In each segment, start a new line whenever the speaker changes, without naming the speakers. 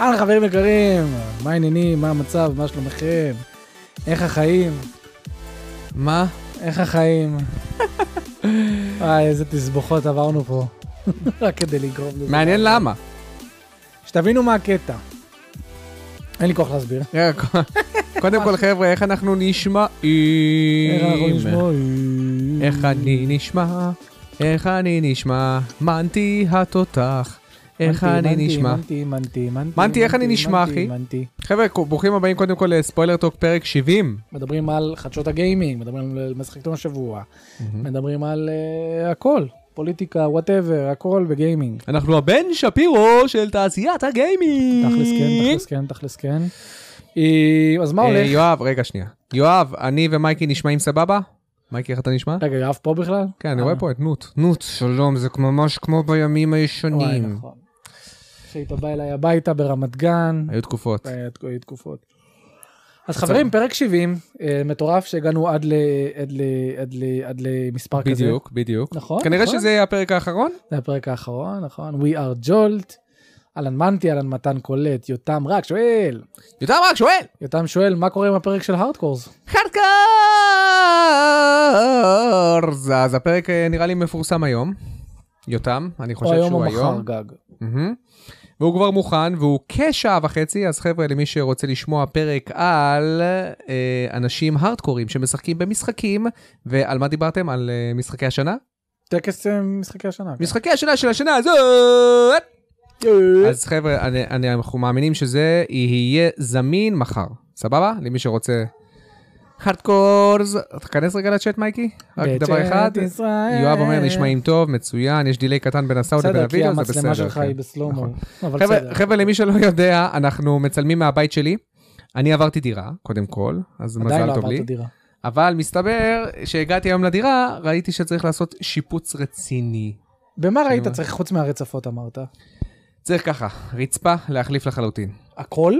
אהלן חברים יקרים, מה העניינים, מה המצב, מה שלומכם, איך החיים,
מה?
איך החיים. וואי, איזה תסבוכות עברנו פה, רק כדי לגרום לזה.
מעניין למה.
שתבינו מה הקטע. אין לי כוח להסביר.
רגע, קודם כל, חבר'ה, איך אנחנו
איך אנחנו
נשמעים?
נשמע?
איך אני נשמע? איך אני נשמע? מנטי התותח. איך
מנטי,
אני
מנטי,
נשמע?
מנטי, מנטי, מנטי.
מנטי, איך אני נשמע,
מנטי,
אחי?
מנטי.
חבר'ה, ברוכים הבאים קודם כל לספוילר טוק פרק 70.
מדברים על חדשות הגיימינג, מדברים על משחק תום השבוע, מדברים על אה, הכל, פוליטיקה, וואטאבר, הכל בגיימינג.
אנחנו הבן שפירו של תעשיית הגיימינג.
תכלס כן, תכלס כן, תכלס כן. אה, אז מה
אה,
הולך?
יואב, רגע, שנייה. יואב, אני ומייקי נשמעים סבבה? מייקי, איך אתה נשמע?
רגע, יואב פה בכלל?
כן, אני רואה פה את נוט. נוט, שלום, זה ממש כמו בימים
אה. וואי,
הישנים.
נכון. כשהיית בא אליי הביתה ברמת גן,
היו תקופות.
היה תק- היו תקופות. אז חברים, פרק 70, אה, מטורף שהגענו עד ל- עד ל- עד ל- עד למספר כזה.
בדיוק, בדיוק.
נכון,
כנראה
נכון.
שזה יהיה הפרק האחרון.
זה הפרק האחרון, נכון? We are Jolt. אהלן מנטי, אהלן מתן קולט, יותם רק שואל.
יותר רק שואל!
יותם שואל, מה קורה עם הפרק של הארדקורס?
חרקרס! אז הפרק אה, נראה לי מפורסם היום. יותם, אני
או
חושב
היום או
שהוא
מחר
היום.
גג.
מהמם. והוא כבר מוכן, והוא כשעה וחצי, אז חבר'ה, למי שרוצה לשמוע פרק על אה, אנשים הארדקורים שמשחקים במשחקים, ועל מה דיברתם? על אה, משחקי השנה?
טקס אה, משחקי השנה. כן.
משחקי השנה אה, של השנה הזאת!
אה,
אז חבר'ה, אני, אני, אנחנו מאמינים שזה יהיה זמין מחר, סבבה? למי שרוצה. הארדקורס, תיכנס רגע לצ'אט מייקי, רק
בצאת
דבר אחד.
ישראל.
יואב אומר נשמעים טוב, מצוין, יש דיליי קטן בין הסאונד לבין
בסדר, כי
הווידאו, זה בסדר.
המצלמה שלך
כן.
היא בסלומו.
נכון.
אבל
חבר'ה-
בסדר.
חבר'ה, למי שלא יודע, אנחנו מצלמים מהבית שלי. אני עברתי דירה, קודם כל, אז
עדיין
מזל
לא
טוב
עברת
לי.
דירה.
אבל מסתבר שהגעתי היום לדירה, ראיתי שצריך לעשות שיפוץ רציני.
במה ראית
אומר.
צריך חוץ מהרצפות אמרת?
צריך ככה, רצפה להחליף לחלוטין.
הכל?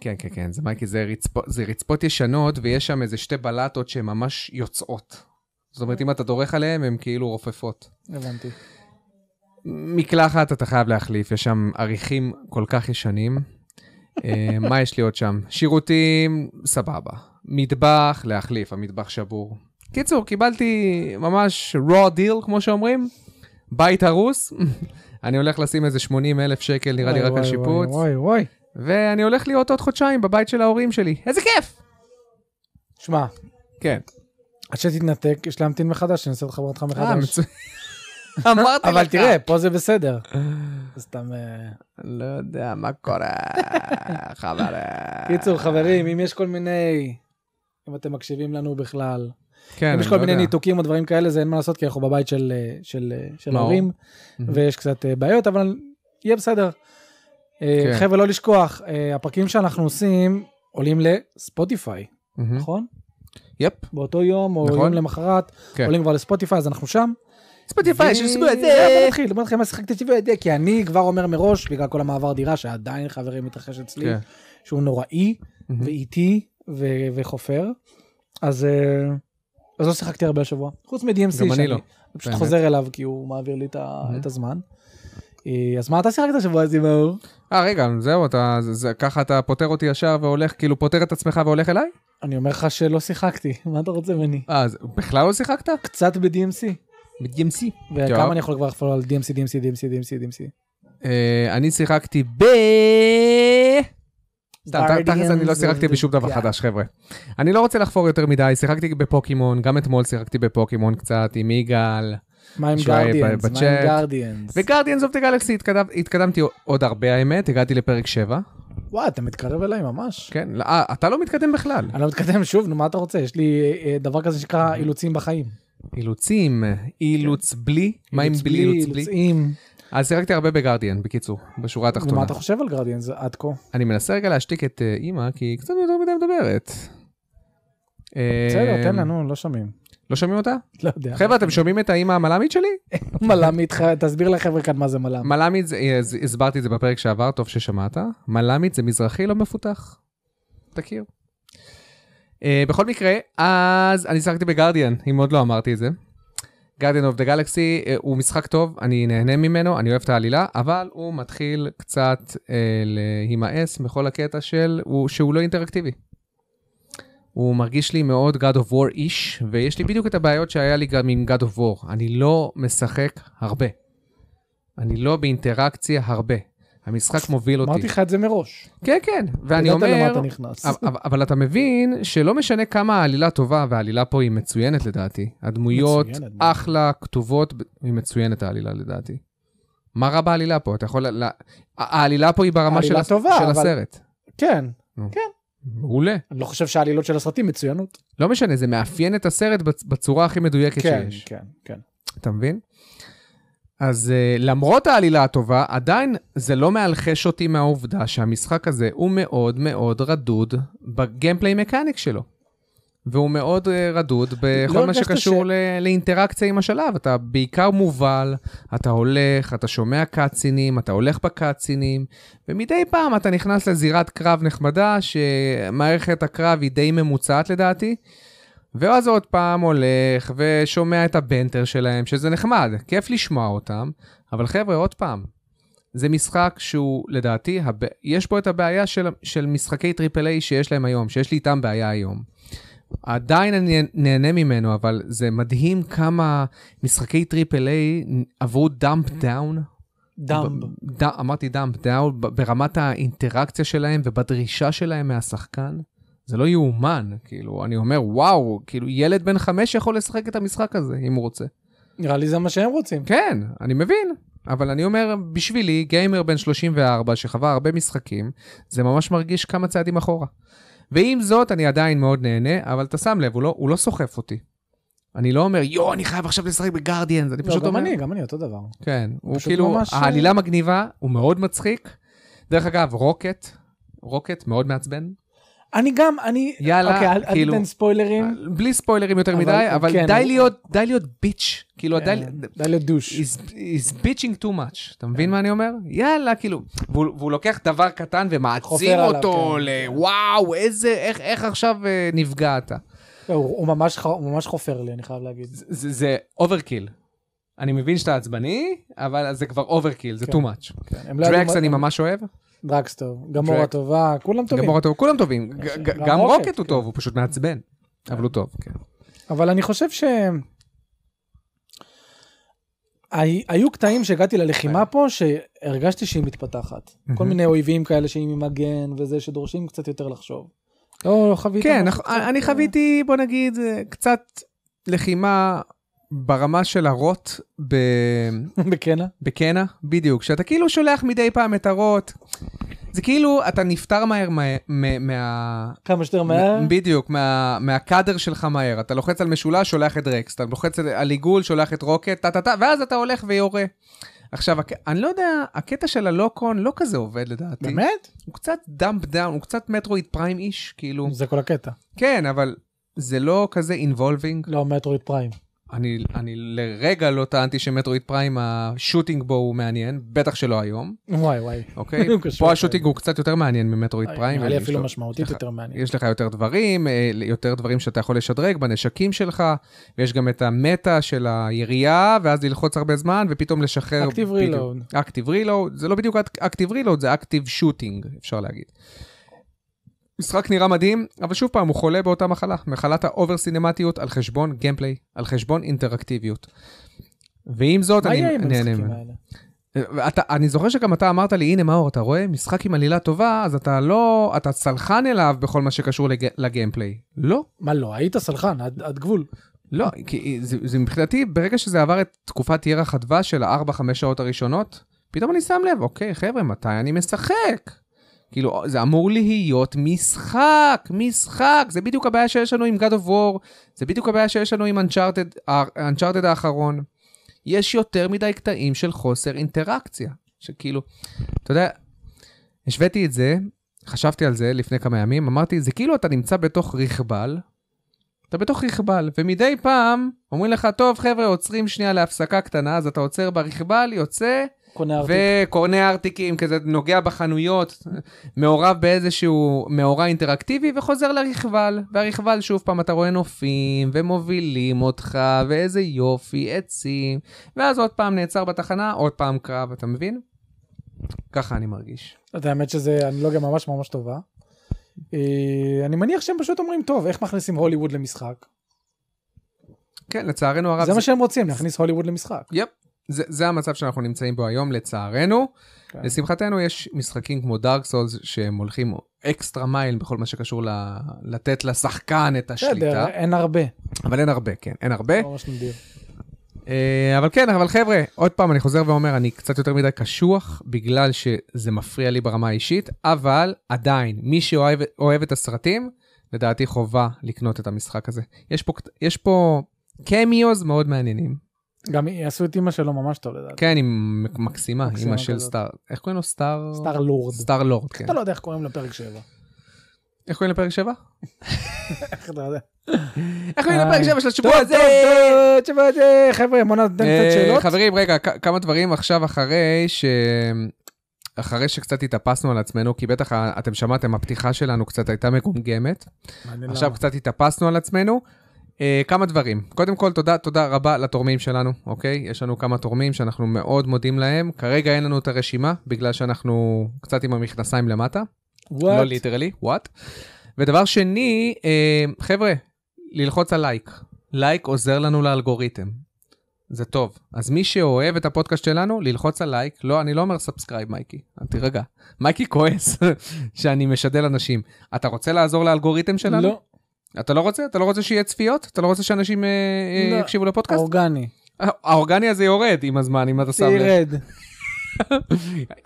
כן, כן, כן, זה מייקי, זה, רצפו, זה רצפות ישנות, ויש שם איזה שתי בלטות שהן ממש יוצאות. זאת אומרת, אם אתה דורך עליהן, הן כאילו רופפות.
הבנתי.
מקלחת אתה חייב להחליף, יש שם אריחים כל כך ישנים. אה, מה יש לי עוד שם? שירותים, סבבה. מטבח, להחליף, המטבח שבור. קיצור, קיבלתי ממש raw deal, כמו שאומרים, בית הרוס. אני הולך לשים איזה 80 אלף שקל, נראה לי,
וואי,
רק על
וואי,
שיפוץ.
וואי וואי.
ואני הולך להיות עוד חודשיים בבית של ההורים שלי. איזה כיף!
שמע,
כן.
עד שתתנתק יש להמתין מחדש, אני אנסה לחבר אותך
אה,
מחדש.
מצוין. אמרתי לך.
אבל תראה, פה זה בסדר. זה סתם... אה,
לא יודע מה קורה, חבל.
קיצור, חברים, אם יש כל מיני... אם אתם מקשיבים לנו בכלל,
כן,
אם
אני
יש כל
לא
מיני
יודע.
ניתוקים או דברים כאלה, זה אין מה לעשות, כי אנחנו בבית של, אה, של, אה, של
מאור.
ההורים, ויש קצת אה, בעיות, אבל יהיה בסדר. אה,
כן.
חבר'ה, לא לשכוח, אה, הפרקים שאנחנו עושים עולים לספוטיפיי,
מהמם.
נכון?
יפ.
באותו יום, או
נכון.
יום למחרת,
כן.
עולים כבר לספוטיפיי, אז אנחנו שם.
ספוטיפיי, יש
ו-
לי את
אה,
זה.
בוא נתחיל, בוא נתחיל מה שיחקתי שבוע הזה, כי אני כבר אומר מראש, בגלל כל המעבר דירה, שעדיין חברים מתרחש אצלי,
כן.
שהוא נוראי,
מהמם.
ואיטי, ו- וחופר. אז אה, אז לא שיחקתי הרבה השבוע, חוץ מ-DMC,
גם אני
שאני
לא,
אני פשוט
באמת.
חוזר אליו, כי הוא מעביר לי את ה-
מהמם.
את הזמן. אה, אז מה אתה שיחקת השבוע הזה, מאור?
אה, רגע, זהו, אתה, זה- זה- ככה אתה פותר אותי ישר והולך, כאילו פותר את עצמך והולך אליי?
אני אומר לך שלא שיחקתי, מה אתה רוצה ממני?
אה, אז בכלל לא שיחקת?
קצת ב-DMC.
ב-DMC.
וכמה אני יכול כבר לפעול על DMC, DMC, DMC, DMC, DMC.
אה, אני שיחקתי ב... סתם, ת- תכלס אני לא שיחקתי בשום דבר חדש, חבר'ה. אני לא רוצה לחפור יותר מדי, שיחקתי בפוקימון, גם אתמול שיחקתי בפוקימון קצת עם יגאל.
מה עם
שהיה
גרדיאנס? מה
בצ'אט.
עם גרדיאנס?
וגרדיאנס אוף דה גלקסי התקדמתי עוד הרבה האמת, הגעתי לפרק 7.
וואי, אתה מתקרב אליי ממש.
כן, לא, אה, אתה לא מתקדם בכלל.
אני לא מתקדם שוב, נו, מה אתה רוצה? יש לי אה, אה, דבר כזה שנקרא אילוצים בחיים.
אילוצים, אילוץ בלי, מה עם
כן. אילוץ
בלי אילוץ בלי?
אילוצים.
אז שיחקתי הרבה בגרדיאן, בקיצור, בשורה התחתונה.
ומה אתה חושב על גרדיאנס עד כה?
אני מנסה רגע להשתיק את אה, אימא, כי היא קצת יותר מדי מדברת.
בסדר,
אה,
תן לנו, לא שומעים.
לא שומעים אותה?
לא יודע.
חבר'ה, אתם שומעים את האימא המלאמית שלי?
מל"מ איתך, תסביר לחבר'ה כאן מה זה מל"מ.
מלאמית, זה- אה, אז- הסברתי את זה בפרק שעבר, טוב ששמעת. מלאמית זה מזרחי לא מפותח. תכיר. אה, Uh, בכל מקרה, אז אני שיחקתי בגרדיאן, אם עוד לא אמרתי את זה. Guardian of the Galaxy אה, הוא משחק טוב, אני נהנה ממנו, אני אוהב את העלילה, אבל הוא מתחיל קצת אה, להימאס בכל הקטע של, הוא, שהוא לא אינטראקטיבי. הוא מרגיש לי מאוד God of War איש, ויש לי בדיוק את הבעיות שהיה לי גם עם God of War. אני לא משחק הרבה. אני לא באינטראקציה הרבה. המשחק מוביל אותי.
אמרתי לך את זה מראש.
כן, כן, ואני אומר...
ידעת למה אתה נכנס.
אבל- אבל- אבל אתה מבין שלא משנה כמה העלילה טובה, והעלילה פה היא מצוינת לדעתי. הדמויות
מצוינת, מה?
אחלה, כתובות, ב- היא מצוינת העלילה לדעתי. מה רע בעלילה פה? אתה יכול... ל- ל- העלילה פה היא ברמה של
העלילה
הס-
טובה,
של
אבל-
הסרט.
כן,
מעולה.
אני לא חושב שהעלילות של הסרטים מצוינות.
לא משנה, זה מאפיין את הסרט בצ- בצורה הכי מדויקת
כן,
שיש.
כן, כן.
אתה מבין? אז uh, למרות העלילה הטובה, עדיין זה לא מאלחש אותי מהעובדה שהמשחק הזה הוא מאוד מאוד רדוד בגיימפליי מקאניק שלו. והוא מאוד uh, רדוד בכל
לא
מה
הרגשת
שקשור
ש-
ל... לאינטראקציה עם השלב. אתה בעיקר מובל, אתה הולך, אתה שומע קאצינים, אתה הולך בקאצינים, ומדי פעם אתה נכנס לזירת קרב נחמדה, שמערכת הקרב היא די ממוצעת לדעתי. ואז עוד פעם הולך ושומע את הבנטר שלהם, שזה נחמד, כיף לשמוע אותם, אבל חבר'ה, עוד פעם, זה משחק שהוא, לדעתי, הב... יש בו את הבעיה של, של משחקי טריפל איי שיש להם היום, שיש לי איתם בעיה היום. עדיין אני נהנה ממנו, אבל זה מדהים כמה משחקי טריפל איי עברו דאמפ דאון.
דאמב.
ד... אמרתי דאמפ דאון, ב- ברמת האינטראקציה שלהם ובדרישה שלהם מהשחקן. זה לא יאומן, כאילו, אני אומר, וואו, כאילו, ילד בן חמש יכול לשחק את המשחק הזה, אם הוא רוצה.
נראה לי זה מה שהם רוצים.
כן, אני מבין, אבל אני אומר, בשבילי, גיימר בן 34 שחווה הרבה משחקים, זה ממש מרגיש כמה צעדים אחורה. ועם זאת, אני עדיין מאוד נהנה, אבל אתה שם לב, הוא לא, הוא לא סוחף אותי. אני לא אומר, יואו, אני חייב עכשיו לשחק בגרדיאנס, אני
לא,
פשוט
גם
אומר...
אני, גם אני אותו דבר.
כן, הוא
פשוט
כאילו,
ממש, אה,
העלילה מגניבה, הוא מאוד מצחיק. דרך אגב, רוקט, רוקט מאוד מעצבן.
אני גם, אני...
יאללה,
אוקיי, אל- אל
כאילו-
תיתן ספוילרים.
בלי ספוילרים יותר
כן. אבל-
מדי, אבל
כן,
די
הוא-
להיות, די להיות ביץ', כאילו, די...
כן, די לדוש.
He's, he's bitching too much, אתה
כן.
מבין מה אני אומר? יאללה, כאילו, והוא, והוא לוקח דבר קטן ומעצים
חופר עליו,
אותו
כן.
לוואו, איזה, איך, איך עכשיו אה, נפגעת.
לא, הוא הוא ממש ח- הוא ממש חופר לי, אני חייב להגיד.
זה- זה אוברקיל. אני מבין שאתה עצבני, אבל זה כבר אוברקיל, זה too
כן.
much.
כן, הם לא יודעים
אוקיי. דרקס
מה-
אני ממש אוהב.
דרקס טוב. גמורה
דרק.
טובה, כולם
גם
טובים. אה,
מורה טוב, כולם טובים. ג- ג-
גם
גם
רוקט,
רוקט הוא
כן.
טוב, הוא פשוט מעצבן. אבל הוא טוב, כן.
אבל אני חושב ש... הי- היו קטעים שהגעתי ללחימה פה שהרגשתי שהיא מתפתחת. כל
כן. מהמם.
מיני אויבים כאלה שהיא ממגן וזה שדורשים קצת יותר לחשוב. לא חווית...
כן,
משהו
אנחנו-
קצת,
אני
אה,
חוויתי, בוא נגיד, אה, קצת לחימה ברמה של הרוט ב-
בקנה?
בקנה, בדיוק, שאתה כאילו שולח מדי פעם את הרוט. זה כאילו אתה נפטר מהר מה... מה- מה...
כמה שיותר מהר?
בדיוק, מה, מהקאדר שלך מהר. אתה לוחץ על משולש, שולח את דרקס, אתה לוחץ על- על עיגול, שולח את רוקט, טה-טה-טה, ואז אתה הולך ויורה. עכשיו, הק... אני לא יודע, הקטע של הלוקון לא כזה עובד לדעתי.
באמת?
הוא קצת דאמפ דאון, הוא קצת מטרואיד פריים איש, כאילו.
זה כל הקטע.
כן, אבל זה לא כזה אינבולבינג.
לא, מטרויד פריים.
אני, אני לרגע לא טענתי שמטרואיד פריים, השוטינג בו הוא מעניין, בטח שלא היום,
וואי וואי.
אוקיי?
הוא קשור
פה השוטינג הוא קצת יותר מעניין ממטרואיד פריים.
אה, נראה לי
יש
אפילו
לו-
משמעותית
לך-
יותר מעניין.
יש לך יותר דברים, אה, יותר דברים שאתה יכול לשדרג בנשקים שלך, ויש גם את המטה של הירייה, ואז ללחוץ הרבה זמן, ופתאום לשחרר...
Active
בדיוק.
reload.
Active reload, זה לא בדיוק Active reload, זה Active shooting, אפשר להגיד. משחק נראה מדהים, אבל שוב פעם, הוא חולה באותה מחלה, מחלת האובר סינמטיות על חשבון גיימפליי, על חשבון אינטראקטיביות. ועם זאת,
מה
אני
יהיה עם
נהנה
המשחקים
ממנו.
האלה?
אתה, אני זוכר שגם אתה אמרת לי, הנה מאור, אתה רואה משחק עם עלילה טובה, אז אתה לא, אתה סלחן אליו בכל מה שקשור לג, לגיימפליי. לא,
מה לא, היית סלחן עד עד גבול.
לא, כי זה, זה מבחינתי, ברגע שזה עבר את תקופת ירח הדבש של ה-4-5 שעות הראשונות, פתאום אני שם לב, אוקיי, חבר'ה, מתי אני משחק? כאילו, זה אמור להיות משחק, משחק, זה בדיוק הבעיה שיש לנו עם God of War, זה בדיוק הבעיה שיש לנו עם Uncharted, Uncharted האחרון. יש יותר מדי קטעים של חוסר אינטראקציה, שכאילו, אתה יודע, השוויתי את זה, חשבתי על זה לפני כמה ימים, אמרתי, זה כאילו אתה נמצא בתוך רכבל, אתה בתוך רכבל, ומדי פעם אומרים לך, טוב חבר'ה, עוצרים שנייה להפסקה קטנה, אז אתה עוצר ברכבל, יוצא,
קונה ארטיק.
וקונה ארטיקים, כזה נוגע בחנויות, מעורב באיזשהו מאורע אינטראקטיבי וחוזר לרכבל. והרכבל, שוב פעם, אתה רואה נופים ומובילים אותך, ואיזה יופי, עצים, ואז עוד פעם נעצר בתחנה, עוד פעם קרב, אתה מבין? ככה אני מרגיש.
אתה יודע, האמת שזה אנלוגיה ממש ממש טובה. אה, אני מניח שהם פשוט אומרים, טוב, איך מכניסים הוליווד למשחק?
כן, לצערנו הרב,
זה מה שהם רוצים, להכניס הוליווד למשחק.
יפ, זה, זה המצב שאנחנו נמצאים בו היום, לצערנו.
כן.
לשמחתנו יש משחקים כמו דארק סולס שהם הולכים אקסטרה מייל בכל מה שקשור ל... לתת לשחקן את השליטה,
בסדר, אין הרבה. לא
אבל אין הרבה, כן, אין הרבה.
ממש נדיר.
אה, אבל כן, אבל חבר'ה, עוד פעם, אני חוזר ואומר, אני קצת יותר מדי קשוח, בגלל שזה מפריע לי ברמה האישית, אבל עדיין, מי שאוהב אוהב את הסרטים, לדעתי חובה לקנות את המשחק הזה. יש פה, קט- יש פה קמיוז מאוד מעניינים.
גם עשו את אימא שלו ממש טוב לדעתי.
כן, היא מ- מקסימה,
מקסימה
אימא של
כזאת.
סטאר, איך קוראים לו? סטאר...
סטאר לורד.
סטאר לורד, אה, כן.
אתה לא יודע איך קוראים לפרק 7.
איך קוראים לפרק 7?
איך אתה יודע?
איך קוראים
איי.
לפרק 7 של השבוע
טוב,
הזה?
טוב, טוב, תשמע, זה- חבר'ה, בוא נתן
אה,
קצת שאלות.
חברים, רגע, כ- כמה דברים עכשיו אחרי ש... אחרי שקצת התאפסנו על עצמנו, כי בטח ה- אתם שמעתם, הפתיחה שלנו קצת הייתה מגומגמת.
מעניין
עכשיו
למה.
קצת התאפסנו על עצמנו. אה, כמה דברים. קודם כל, תודה, תודה רבה לתורמים שלנו, אוקיי? יש לנו כמה תורמים שאנחנו מאוד מודים להם. כרגע אין לנו את הרשימה, בגלל שאנחנו קצת עם המכנסיים למטה.
What?
לא ליטרלי, וואט. ודבר שני, אה, חבר'ה, ללחוץ על לייק. לייק עוזר לנו לאלגוריתם. זה טוב. אז מי שאוהב את הפודקאסט שלנו, ללחוץ על לייק. לא, אני לא אומר סאבסקרייב, מייקי. תירגע. מייקי כועס שאני משדל אנשים. אתה רוצה לעזור לאלגוריתם שלנו?
לא,
אתה לא רוצה? אתה לא רוצה שיהיה צפיות? אתה לא רוצה שאנשים אה, אה,
לא.
יקשיבו לפודקאסט?
אורגני.
הא- האורגני הזה יורד עם הזמן, אם אתה שם לב.
תירד.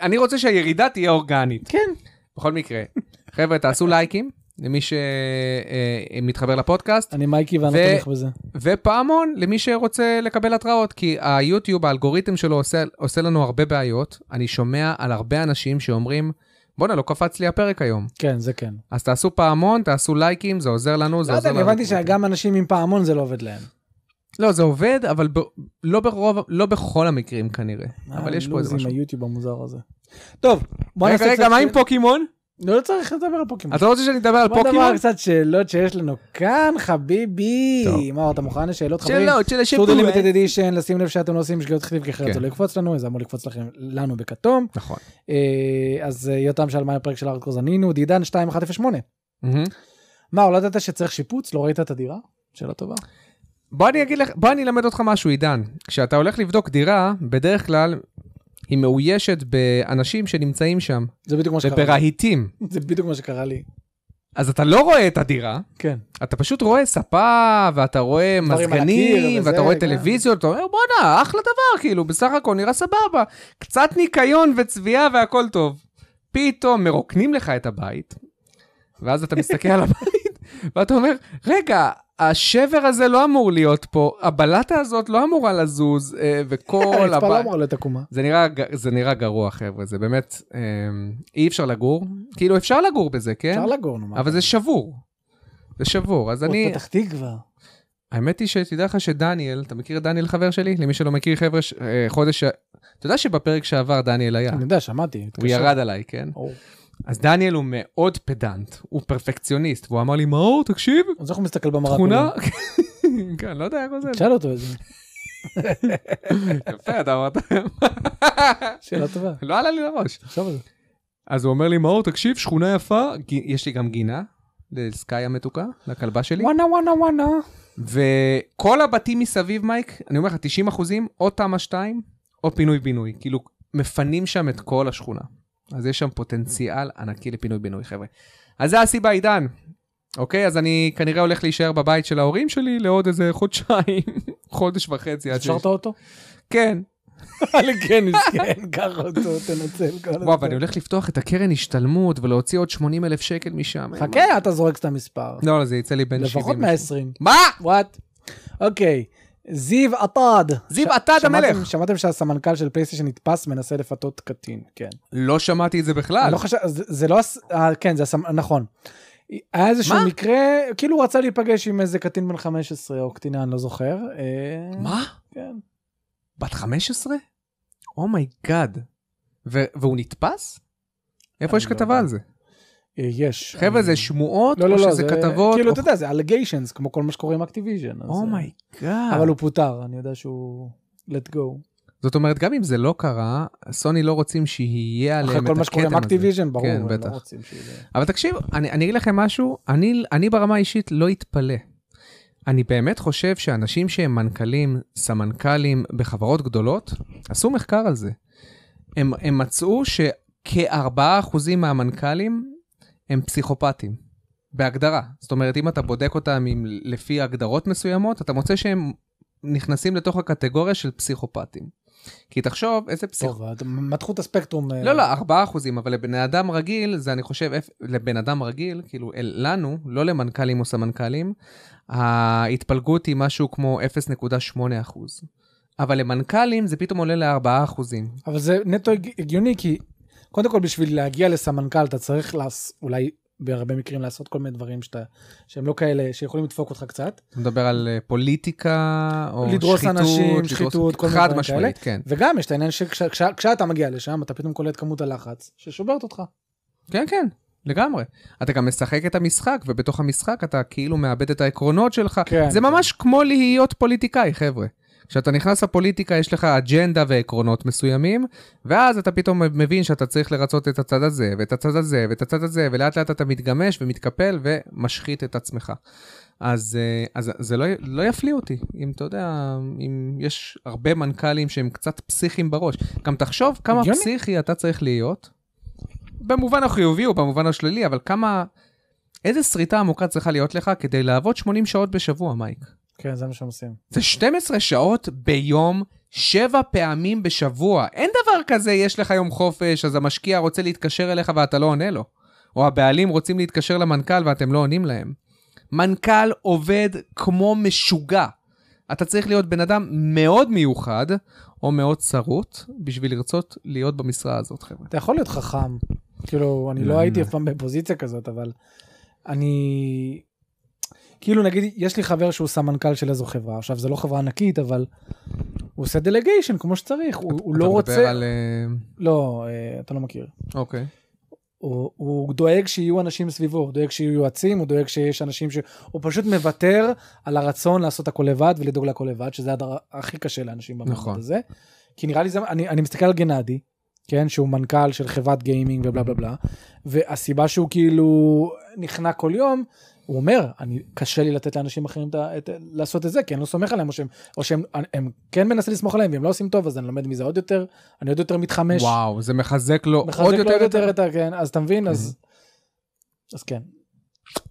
אני רוצה שהירידה תהיה אורגנית.
כן.
בכל מקרה, חבר'ה, תעשו לייקים למי שמתחבר לפודקאסט,
אני מייקי ואני
ו-
תומך בזה.
ופעמון למי שרוצה לקבל התראות, כי היוטיוב, האלגוריתם שלו עושה, עושה לנו הרבה בעיות. אני שומע על הרבה אנשים שאומרים, בואנה, לא קפץ לי הפרק היום.
כן, זה כן.
אז תעשו פעמון, תעשו לייקים, זה עוזר לנו, זה
לא
עוזר
יודע,
לנו. כן.
אני הבנתי שגם אנשים עם פעמון זה לא עובד להם.
לא, זה עובד, אבל ב... לא, ברוב, לא בכל המקרים כנראה. אבל יש פה איזה
הלו"ז
משהו.
עם היוטיוב אה, המוזר הזה. טוב, בוא
רגע,
נעשה
רגע,
קצת
מה עם
שאל-
פוקימון?
לא צריך לדבר על פוקימון.
אתה לא רוצה שאני אדבר על
בוא נדבר
פוקימון?
על קצת שאלות שיש לנו כאן, חביבי. מה, אתה מוכן לשאלות חברים?
שאלות של
סטור
השיפור.
לימטד אדישן, לשים לב שאתם לא עושים שגיאות כתיב כי אחרת
כן.
זה לא יקפוץ לנו, זה אמור לקפוץ לכם, לנו בכתום.
נכון.
אה, אז אה, יותם שאל מה הפרק של הארדקור זנינו, דידן 2108.
מהמם.
מה, לא ידעת שצריך שיפוץ? לא ראית את הדירה? שאלה טובה.
בוא אני אגיד לך, בוא אני אלמד אותך משהו, עידן. כשאתה הולך לבדוק דירה, בדרך כלל היא מאוישת באנשים שנמצאים שם,
זה בדיוק מה שקרה לי.
וברהיטים.
זה בדיוק מה שקרה לי.
אז אתה לא רואה את הדירה,
כן.
אתה פשוט רואה ספה, ואתה רואה
על הקיר
מזגנים,
וזה,
ואתה רואה
כן.
טלוויזיות, אתה אומר, בואנה, אחלה דבר, כאילו, בסך הכל נראה סבבה. קצת ניקיון וצביעה והכל טוב. פתאום מרוקנים לך את הבית, ואז אתה מסתכל על הבית, ואתה אומר, רגע, השבר הזה לא אמור להיות פה, הבלטה הזאת לא אמורה לזוז, אה, וכל
הרצפה לא
הבית...
אמורה להיות עקומה.
זה נראה, ג- זה נראה גרוע, חבר'ה, זה באמת, אה, אי אפשר לגור. כאילו, אפשר לגור בזה, כן?
אפשר לגור, נו. מה
אבל
אתה-
זה שבור. זה שבור, אז
עוד
אני...
פתח תקווה.
האמת היא שתדע לך שדניאל, אתה מכיר את דניאל חבר שלי? למי שלא מכיר, חבר'ה, ש... אה, חודש... ש- אתה יודע שבפרק שעבר דניאל היה.
אני יודע, שמעתי.
כן. הוא ירד עליי, כן?
או.
אז דניאל הוא מאוד פדנט, הוא פרפקציוניסט, והוא אמר לי, מאור, תקשיב,
אז איך הוא מסתכל במראה?
תכונה...
כולו?
כן, לא יודע איך זה.
שאל אותו את זה.
יפה, אתה אמרת.
שאלה טובה.
לא עלה לי לראש.
תחשוב על זה.
אז הוא אומר לי, מאור, תקשיב, שכונה יפה, ג- יש לי גם גינה. לסקאי המתוקה, לכלבה שלי,
וואנה וואנה וואנה.
וכל הבתים מסביב, מייק, אני אומר לך, 90 אחוזים, או תמ"א 2, או פינוי-בינוי. כאילו, מפנים שם את כל השכונה. אז יש שם פוטנציאל ענקי לפינוי-בינוי, חבר'ה. אז זה הסיבה, עידן. אוקיי, אז אני כנראה הולך להישאר בבית של ההורים שלי לעוד איזה חודשיים, חודש וחצי. עד
השארת
שיש-
אותו?
כן.
כן, מסכן, קח אותו, תנצל כל הזמן.
וואו, ואני הולך לפתוח את הקרן השתלמות ולהוציא עוד 80 אלף שקל משם.
חכה, אתה זורק סתם מספר.
לא, לא, זה יצא לי בין 70.
לפחות 120.
מה?
וואט? אוקיי. זיו עטד.
זיו
ש-
עטד
שמעתם-
המלך.
שמעתם שהסמנכ"ל של פלייסטיישן נתפס מנסה לפתות קטין, כן.
לא שמעתי את זה בכלל.
אני לא חשב... זה זה לא... הס- אה, כן, זה הסמ... נכון. היה איזשהו
מה?
מקרה, כאילו הוא רצה להיפגש עם איזה קטין בן 15 או קטינה, אני לא זוכר. אה,
מה?
כן.
בת 15? אומייגאד. והוא נתפס? איפה
אני
יש
לא
כתבה
יודע.
על זה?
אה, יש.
חבר'ה,
אני-
זה שמועות?
לא, לא, לא,
או שזה כתבות?
כאילו,
או-
אתה
Oh
יודע, זה allegations, כמו כל מה שקורה עם אקטיביז'ן. אז, אה,
אומייגאד.
אבל הוא פוטר, אני יודע שהוא... let go.
זאת אומרת, גם אם זה לא קרה, סוני לא רוצים שיהיה עליהם את
אחרי
הכתם הזה.
כל מה שקורה עם אקטיביז'ן, ברור,
כן,
הם
בטח.
לא רוצים שזה...
אבל תקשיב, אני, אני אגיד לכם משהו, אני, אני ברמה האישית לא אתפלא. אני באמת חושב שאנשים שהם מנכ"לים, סמנכ"לים בחברות גדולות, עשו מחקר על זה. הם, הם מצאו שכ-4% מהמנכ"לים הם פסיכופטים, בהגדרה. זאת אומרת, אם אתה בודק אותם עם, לפי הגדרות מסוימות, אתה מוצא שהם נכנסים לתוך הקטגוריה של פסיכופטים. כי תחשוב, איזה פסיכ...
טוב, אתם מתחו את הספקטרום. אה,
לא, לא, 4 אחוזים, אבל לבן אדם רגיל, זה אני חושב, אפ- לבן אדם רגיל, כאילו, אל- לנו, לא למנכ"לים או סמנכ"לים, ההתפלגות היא משהו כמו 0.8 אחוז. אבל למנכ"לים זה פתאום עולה ל-4 אחוזים.
אבל זה נטו הג- הגיוני, כי קודם כל בשביל להגיע לסמנכ"ל אתה צריך לעש... אולי בהרבה מקרים לעשות כל מיני דברים שאתה... שהם לא כאלה, שיכולים לדפוק אותך קצת.
אתה מדבר על אה, פוליטיקה, או
לדרוס
שחיתות,
אנשים,
לדרוס-
שחיתות, כל מיני
חד
דברים
משמעית, כן.
וגם יש את העניין שכשאתה כש... כשאתה מגיע לשם, אתה פתאום קולט כמות הלחץ ששוברת אותך.
כן, כן, לגמרי. אתה גם משחק את המשחק, ובתוך המשחק אתה כאילו מאבד את העקרונות שלך.
כן,
זה
כן.
ממש כמו להיות פוליטיקאי, חבר'ה. כשאתה נכנס לפוליטיקה יש לך אג'נדה ועקרונות מסוימים, ואז אתה פתאום מבין שאתה צריך לרצות את הצד הזה, ואת הצד הזה, ואת הצד הזה, ולאט לאט אתה מתגמש ומתקפל ומשחית את עצמך. אז, אה, אז זה לא, לא יפליא אותי, אם אתה יודע, אם יש הרבה מנכ"לים שהם קצת פסיכיים בראש. גם תחשוב כמה
הגיוני.
פסיכי אתה צריך להיות, במובן החיובי או במובן השלילי, אבל כמה, איזה שריטה עמוקה צריכה להיות לך כדי לעבוד 80 שעות בשבוע, מייק?
כן, זה מה שהם עושים.
זה 12 שעות ביום, 7 פעמים בשבוע. אין דבר כזה, יש לך יום חופש, אז המשקיע רוצה להתקשר אליך ואתה לא עונה לו. או הבעלים רוצים להתקשר למנכ"ל ואתם לא עונים להם. מנכ"ל עובד כמו משוגע. אתה צריך להיות בן אדם מאוד מיוחד, או מאוד שרוט, בשביל לרצות להיות במשרה הזאת, חבר'ה.
אתה יכול להיות חכם. כאילו, אני לא
לא,
הייתי
לא.
אף פעם בפוזיציה כזאת, אבל אני... כאילו, נגיד, יש לי חבר שהוא סמנכ"ל של איזו חברה. עכשיו, זו לא חברה ענקית, אבל הוא עושה דלגיישן כמו שצריך. הוא, הוא לא
אתה מדבר
רוצה...
על... אה,
לא, אה, אתה לא מכיר.
אוקיי.
הוא, הוא דואג שיהיו אנשים סביבו, הוא דואג שיהיו יועצים, הוא דואג שיש אנשים ש... הוא פשוט מוותר על הרצון לעשות הכל לבד ולדאוג להכל לבד, שזה הדבר הכי קשה לאנשים במעמד
נכון.
נכון. הזה. כי נראה לי זה, אני, אני מסתכל על גנדי, כן, שהוא מנכ"ל של חברת גיימינג ובלה בלה בלה, והסיבה שהוא כאילו נכנע כל יום, הוא אומר, אני, קשה לי לתת לאנשים אחרים את, ה- את, לעשות את זה, כי אני לא סומך עליהם, או שהם, או שהם הם, הם כן מנסה לסמוך עליהם, והם לא עושים טוב, אז אני לומד מזה עוד יותר, אני עוד יותר מתחמש.
וואו, זה מחזק לו
מחזק
עוד יותר. Mm-hmm.
יותר את ה... כן, אז אתה מבין, אז... אז כן.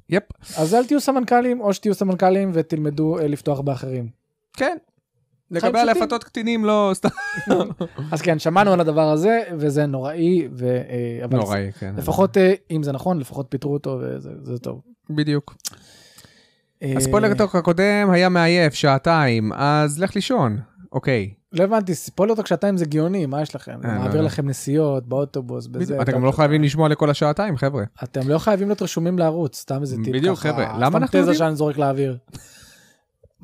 יפ.
אז אל תהיו סמנכלים, או שתהיו סמנכלים ותלמדו אה, לפתוח באחרים.
כן. לגבי
פשוטים.
הלפתות קטינים לא סתם.
אז כן, שמענו על הדבר הזה, וזה נוראי, ו... אה, אבל
נוראי, כן.
לפחות, אה, אם זה נכון, לפחות פיטרו אותו, וזה זה טוב.
בדיוק.
אה,
הספוילר טוק הקודם היה מעייף, שעתיים, אז לך לישון. אוקיי.
לא הבנתי, ספוילר טוק שעתיים זה גאוני, מה יש לכם?
אה, לא
מעביר
יודע.
לכם נסיעות, באוטובוס, בזה.
אתם גם לא חייבים לשמוע לכל השעתיים, חבר'ה.
אתם לא חייבים להיות רשומים לערוץ, סתם איזה טיפ
בדיוק,
ככה,
חבר'ה, למה
סתם
אנחנו
תזה
יודעים?
שאני זורק לאוויר.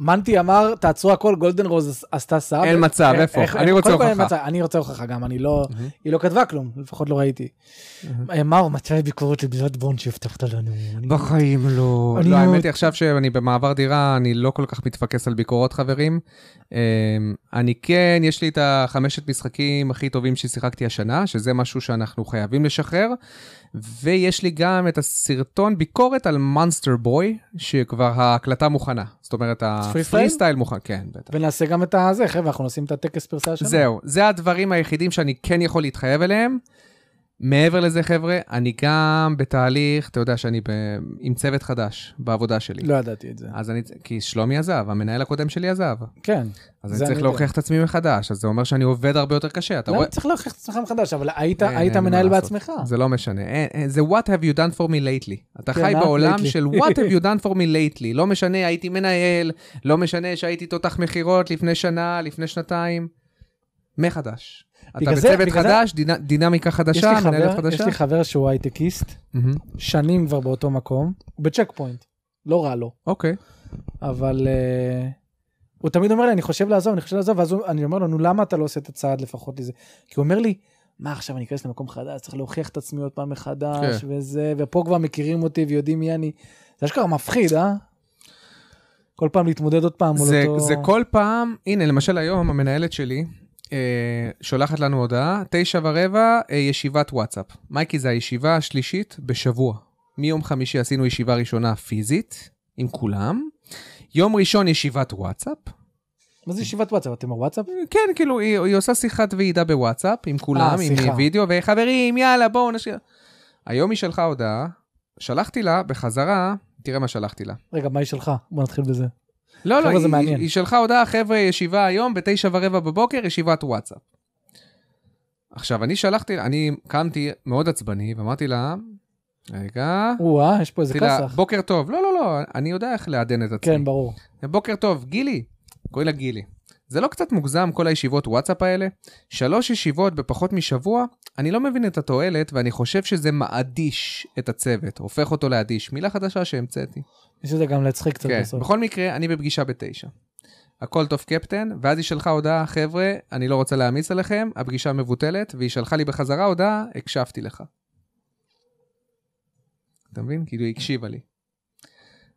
מנטי אמר, תעצרו הכל, גולדן רוז עשתה סאב.
אין מצב,
אה,
איפה?
איך-
אני רוצה
קודם כל אין
הוכחה.
מצב, אני רוצה הוכחה גם, אני לא,
מהמם.
היא לא כתבה כלום, לפחות לא ראיתי. אה, מאור, מצא ביקורת לבזת בון שהבטחת לנו. אני-
בחיים לא.
אני
לא,
לא-
האמת היא עכשיו שאני במעבר דירה, אני לא כל כך מתפקס על ביקורות, חברים. אמ, אני כן, יש לי את החמשת משחקים הכי טובים ששיחקתי השנה, שזה משהו שאנחנו חייבים לשחרר. ויש לי גם את הסרטון ביקורת על מונסטר בוי, שכבר ההקלטה מוכנה. זאת אומרת, הפרי סטייל מוכן. כן, בטח.
ונעשה גם את הזה, חבר'ה, אנחנו עושים את הטקס פרסה השנה.
זהו, זה הדברים היחידים שאני כן יכול להתחייב אליהם. מעבר לזה, חבר'ה, אני גם בתהליך, אתה יודע שאני ב... עם צוות חדש בעבודה שלי.
לא ידעתי את זה.
אז אני, כי שלומי עזב, המנהל הקודם שלי עזב.
כן.
אז
זה
אני צריך
יודע. לא,
להוכיח את עצמי מחדש, אז זה אומר שאני עובד הרבה יותר קשה, אתה
למה
רואה?
צריך להוכיח את עצמך מחדש? אבל היית-
אין,
היית
אין מה
מנהל
לעשות.
בעצמך.
זה לא משנה, אין, אין, זה what have you done for me lately. אתה
אה. כן,
חי
not
בעולם
lately.
של what have you done for me lately. לא משנה, הייתי מנהל, לא משנה שהייתי תותח מכירות לפני שנה, לפני שנתיים, מחדש. אתה
בגלל זה-
בצוות
בגלל זה-
חדש, דינה, דינמיקה
יש
חדשה,
לי חבר-
מנהלת
יש
חדשה.
לי חבר שהוא הייטקיסט,
מהמם,
שנים כבר באותו מקום, הוא בצ'ק פוינט, לא רע לו,
אוקיי,
אבל אה, הוא תמיד אומר לי, אני חושב לעזוב, אני חושב לעזוב, ואז הוא- אני אומר לו, נו, למה אתה לא עושה את הצעד לפחות לזה? כי הוא אומר לי, מה עכשיו, אני אכנס למקום חדש, צריך להוכיח את עצמי עוד פעם מחדש,
כן.
וזה, ופה כבר מכירים אותי ויודעים מי אני. זה אשכרה מפחיד, אה? כל פעם להתמודד עוד פעם מול
זה,
אותו...
זה כל פעם, הנה, למשל היום המנהלת שלי אה, שולחת לנו הודעה, תשע ורבע, אה, ישיבת וואטסאפ. מייקי, זה הישיבה השלישית בשבוע. מיום חמישי עשינו ישיבה ראשונה פיזית, עם כולם. יום ראשון ישיבת וואטסאפ.
מה זה ישיבת וואטסאפ? אתם בוואטסאפ?
כן, כאילו, היא, היא עושה שיחת ועידה בוואטסאפ עם כולם, עם
שיחה.
וידאו, וחברים, יאללה, בואו נשאיר. היום היא שלחה הודעה, שלחתי לה בחזרה, תראה מה שלחתי לה.
רגע, מה היא שלך? בוא נתחיל בזה.
לא, לא,
חבר'ה, זה
היא,
מעניין.
היא שלחה הודעה, חבר'ה, ישיבה היום, בתשע ורבע בבוקר, ישיבת וואטסאפ. עכשיו, אני שלחתי, אני קמתי מאוד עצבני, ואמרתי לה, רגע,
או-אה, יש פה איזה
אמרתי לה,
כסח.
בוקר טוב. לא, לא, לא, אני יודע איך לעדן את עצמי.
כן, ברור.
בוקר טוב, גילי. קוראים לה גילי. זה לא קצת מוגזם כל הישיבות וואטסאפ האלה? שלוש ישיבות בפחות משבוע? אני לא מבין את התועלת ואני חושב שזה מאדיש את הצוות, הופך אותו לאדיש. מילה חדשה שהמצאתי.
יש לזה גם להצחיק קצת
כן,
בסוף.
בכל מקרה, אני בפגישה בתשע. הכל טוב קפטן, ואז היא שלחה הודעה, חבר'ה, אני לא רוצה להעמיס עליכם, הפגישה מבוטלת, והיא שלחה לי בחזרה הודעה, הקשבתי לך. אתה מבין? כאילו, היא הקשיבה לי.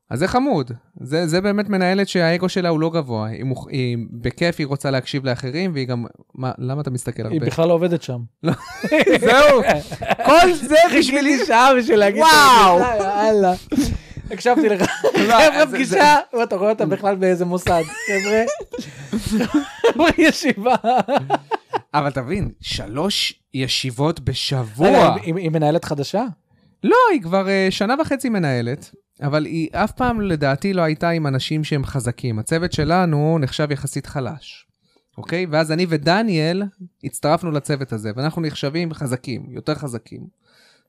אז זה חמוד, זה, זה באמת מנהלת שהאגו שלה הוא לא גבוה, היא, מוכ... היא בכיף, היא רוצה להקשיב לאחרים, והיא גם... מה, למה אתה מסתכל הרבה?
היא בכלל לא עובדת שם.
זהו, כל זה בשבילי
שעה בשביל להגיד...
וואו.
את הפגישה, יאללה. הקשבתי לך.
לא,
חבר'ה,
זה-
פגישה, וואי, אתה רואה אותה בכלל באיזה מוסד, חבר'ה. חבר'ה, ישיבה.
אבל תבין, שלוש ישיבות בשבוע.
רגע, היא- היא מנהלת חדשה?
לא, היא כבר uh, שנה וחצי מנהלת, אבל היא אף פעם לדעתי לא הייתה עם אנשים שהם חזקים. הצוות שלנו נחשב יחסית חלש, אוקיי? ואז אני ודניאל הצטרפנו לצוות הזה, ואנחנו נחשבים חזקים, יותר חזקים,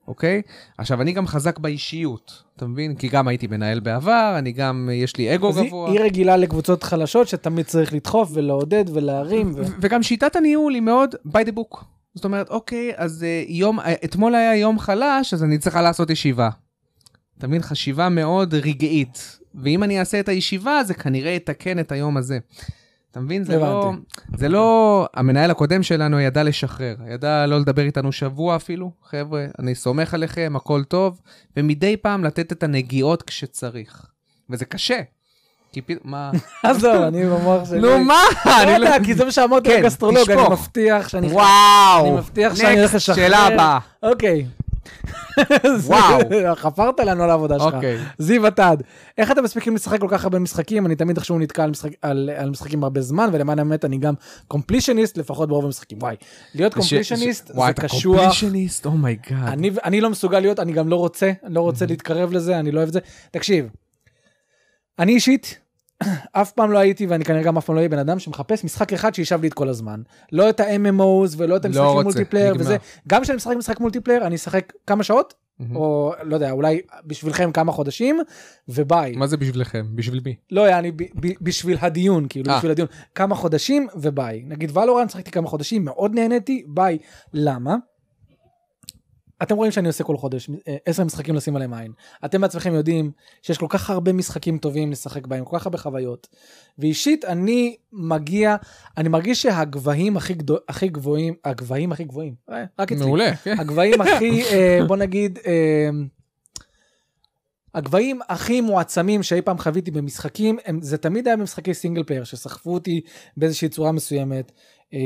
אוקיי? עכשיו, אני גם חזק באישיות, אתה מבין? כי גם הייתי מנהל בעבר, אני גם, אה, יש לי אגו
אז היא-
גבוה.
היא רגילה לקבוצות חלשות שתמיד צריך לדחוף ולעודד ולהרים. ו-
ו- וגם שיטת הניהול היא מאוד by the book. זאת אומרת, אוקיי, אז uh, יום, uh, אתמול היה יום חלש, אז אני צריכה לעשות ישיבה. אתה מבין? חשיבה מאוד רגעית. ואם אני אעשה את הישיבה, זה כנראה יתקן את היום הזה. אתה מבין? זה לא...
הבנתי.
זה לא... המנהל הקודם שלנו ידע לשחרר. ידע לא לדבר איתנו שבוע אפילו. חבר'ה, אני סומך עליכם, הכל טוב. ומדי פעם לתת את הנגיעות כשצריך. וזה קשה. כי פתאום... מה?
עזוב, אני במוח שלי.
נו, מה?
לא
אני
יודע, כי זה מה שאמרתי
כן,
לגסטרולוג, אני
תשפוך.
מבטיח שאני...
וואו.
אני מבטיח שאני הולך
Next,
לשחרר.
שאלה הבאה.
אוקיי.
וואו.
חפרת לנו על העבודה שלך.
אוקיי.
זיו עתד, איך אתם מספיקים לשחק כל כך הרבה משחקים? אני תמיד איכשהו נתקע על, משחק, על, על משחקים הרבה זמן, ולמען האמת אני גם קומפלישניסט, לפחות ברוב המשחקים. וואי, להיות קומפלישניסט
וואי,
זה
אתה
קשוח.
קומפלישניסט? Oh אומייגאד.
אני, אני לא מסוגל להיות, אני גם לא רוצה, אני לא
Mhm.
רוצה להתקרב לזה, אני לא אוהב את זה. תקשיב, אני אישית, אף פעם לא הייתי, ואני כנראה גם אף פעם לא אהיה בן אדם שמחפש משחק אחד שישב לי את כל הזמן. לא את ה-MMOs ולא את
לא
המשחקים
רוצה,
מולטיפלייר
נגמר.
וזה. גם כשאני משחק משחק מולטיפלייר, אני אשחק כמה שעות,
מהמם.
או לא יודע, אולי בשבילכם כמה חודשים, וביי.
מה זה בשבילכם? בשביל מי?
לא, יעני, ב- ב- בשביל הדיון, כאילו,
אה.
בשביל הדיון. כמה חודשים וביי. נגיד ולורן, שחקתי כמה חודשים, מאוד נהניתי, ביי. למה? אתם רואים שאני עושה כל חודש אה, עשר משחקים לשים עליהם עין. אתם בעצמכם יודעים שיש כל כך הרבה משחקים טובים לשחק בהם, כל כך הרבה חוויות. ואישית, אני מגיע, אני מרגיש שהגבהים הכי, גדו, הכי גבוהים, הגבהים הכי גבוהים, אה, רק אצלי.
מעולה, כן.
הגבהים הכי, אה, בוא נגיד, אה, הגבהים הכי מועצמים שאי פעם חוויתי במשחקים, הם, זה תמיד היה במשחקי סינגל פלייר, שסחפו אותי באיזושהי צורה מסוימת. אה,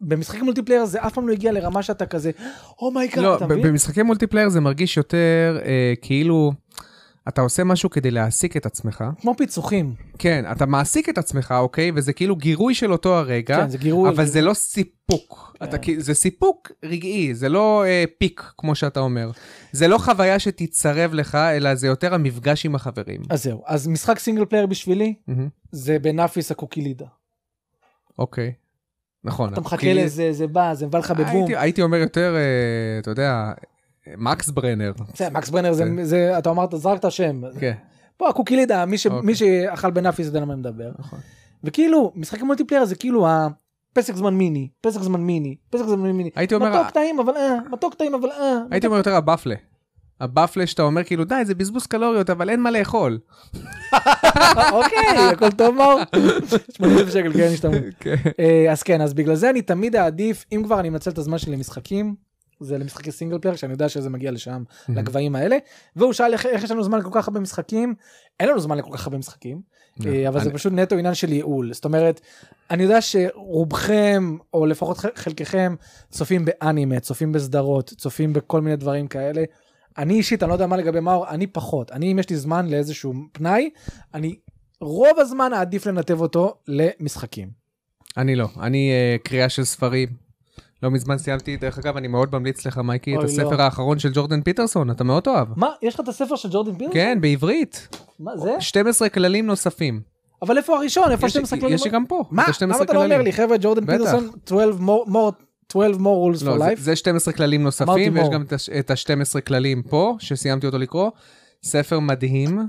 במשחקים מולטיפלייר זה אף פעם לא הגיע לרמה שאתה כזה, אומייגאד,
לא,
אתה
ב-
מבין?
במשחקי מולטיפלייר זה מרגיש יותר אה, כאילו... אתה עושה משהו כדי להעסיק את עצמך,
כמו פיצוחים.
כן, אתה מעסיק את עצמך, אוקיי? וזה כאילו גירוי של אותו הרגע,
כן, זה גירוי.
אבל זה לא סיפוק.
כן.
אתה כי- זה סיפוק רגעי, זה לא אה, פיק, כמו שאתה אומר. זה לא חוויה שתצרב לך, אלא זה יותר המפגש עם החברים.
אז זהו, אז משחק סינגל פלייר בשבילי,
מהמם.
זה בנאפיס הקוקילידה.
אוקיי. נכון.
אתה מחכה
כי-
לזה, זה בא, זה מבא לך בבום.
אה, הייתי, הייתי אומר יותר, אה, אתה יודע, מקס ברנר.
זה, מקס ברנר, זה-
כן.
זה- אתה אמרת, זרקת שם,
כן.
פה הקוקילידה, מי, ש...
אוקיי.
מי שאכל בנאפיס יודע על מה אני מדבר.
נכון.
וכאילו, משחק מולטיפלייר זה כאילו הפסק זמן מיני, פסק זמן מיני, פסק זמן מיני.
הייתי אומר,
מתוק טעים אבל אה, מתוק טעים אבל אה.
הייתי אומר יותר הבאפלה. הבאפלה שאתה אומר כאילו, די, זה בזבוז קלוריות, אבל אין מה לאכול.
אוקיי, הכל טוב מאור? 80 שקל, כן, השתמעות. אה, אז כן, אז בגלל זה אני תמיד אעדיף, אם כבר אני מנצל את הזמן שלי למשחקים, זה למשחקי סינגל פלייר, שאני יודע שזה מגיע לשם, לגבהים האלה. והוא שאל איך, איך יש לנו זמן לכל כך הרבה משחקים, אין לנו זמן לכל כך הרבה משחקים,
לא,
אה, אבל זה
אני-
פשוט נטו עניין של ייעול. זאת אומרת, אני יודע שרובכם, או לפחות ח- חלקכם, צופים באנימה, צופים בסדרות, צופים בכל מיני דברים כאלה. אני אישית, אני לא יודע מה לגבי מאור, אני פחות. אני, אם יש לי זמן לאיזשהו פנאי, אני רוב הזמן אעדיף לנתב אותו למשחקים.
אני לא, אני אה, קריאה של ספרים. לא מזמן סיימתי, דרך אגב, אני מאוד ממליץ לך, מייקי, את
אוי, לא.
הספר האחרון של ג'ורדן פיטרסון, אתה מאוד תאהב.
מה, יש לך את הספר של ג'ורדן פירס?
כן, בעברית.
מה זה?
12 כללים נוספים.
אבל איפה הראשון? איפה
יש-
שאתם מסתכלים?
יש לי גם פה.
מה?
זה
למה
12
אתה לא אומר
כללים.
לי, חבר'ה, ג'ורדן
בטח.
פיטרסון, 12 more- more- 12 more rules
לא,
for
זה-
life?
זה 12 כללים
אמרתי
נוספים, ויש
מור.
גם את הש- את ה-12 כללים פה, שסיימתי אותו לקרוא. ספר מדהים.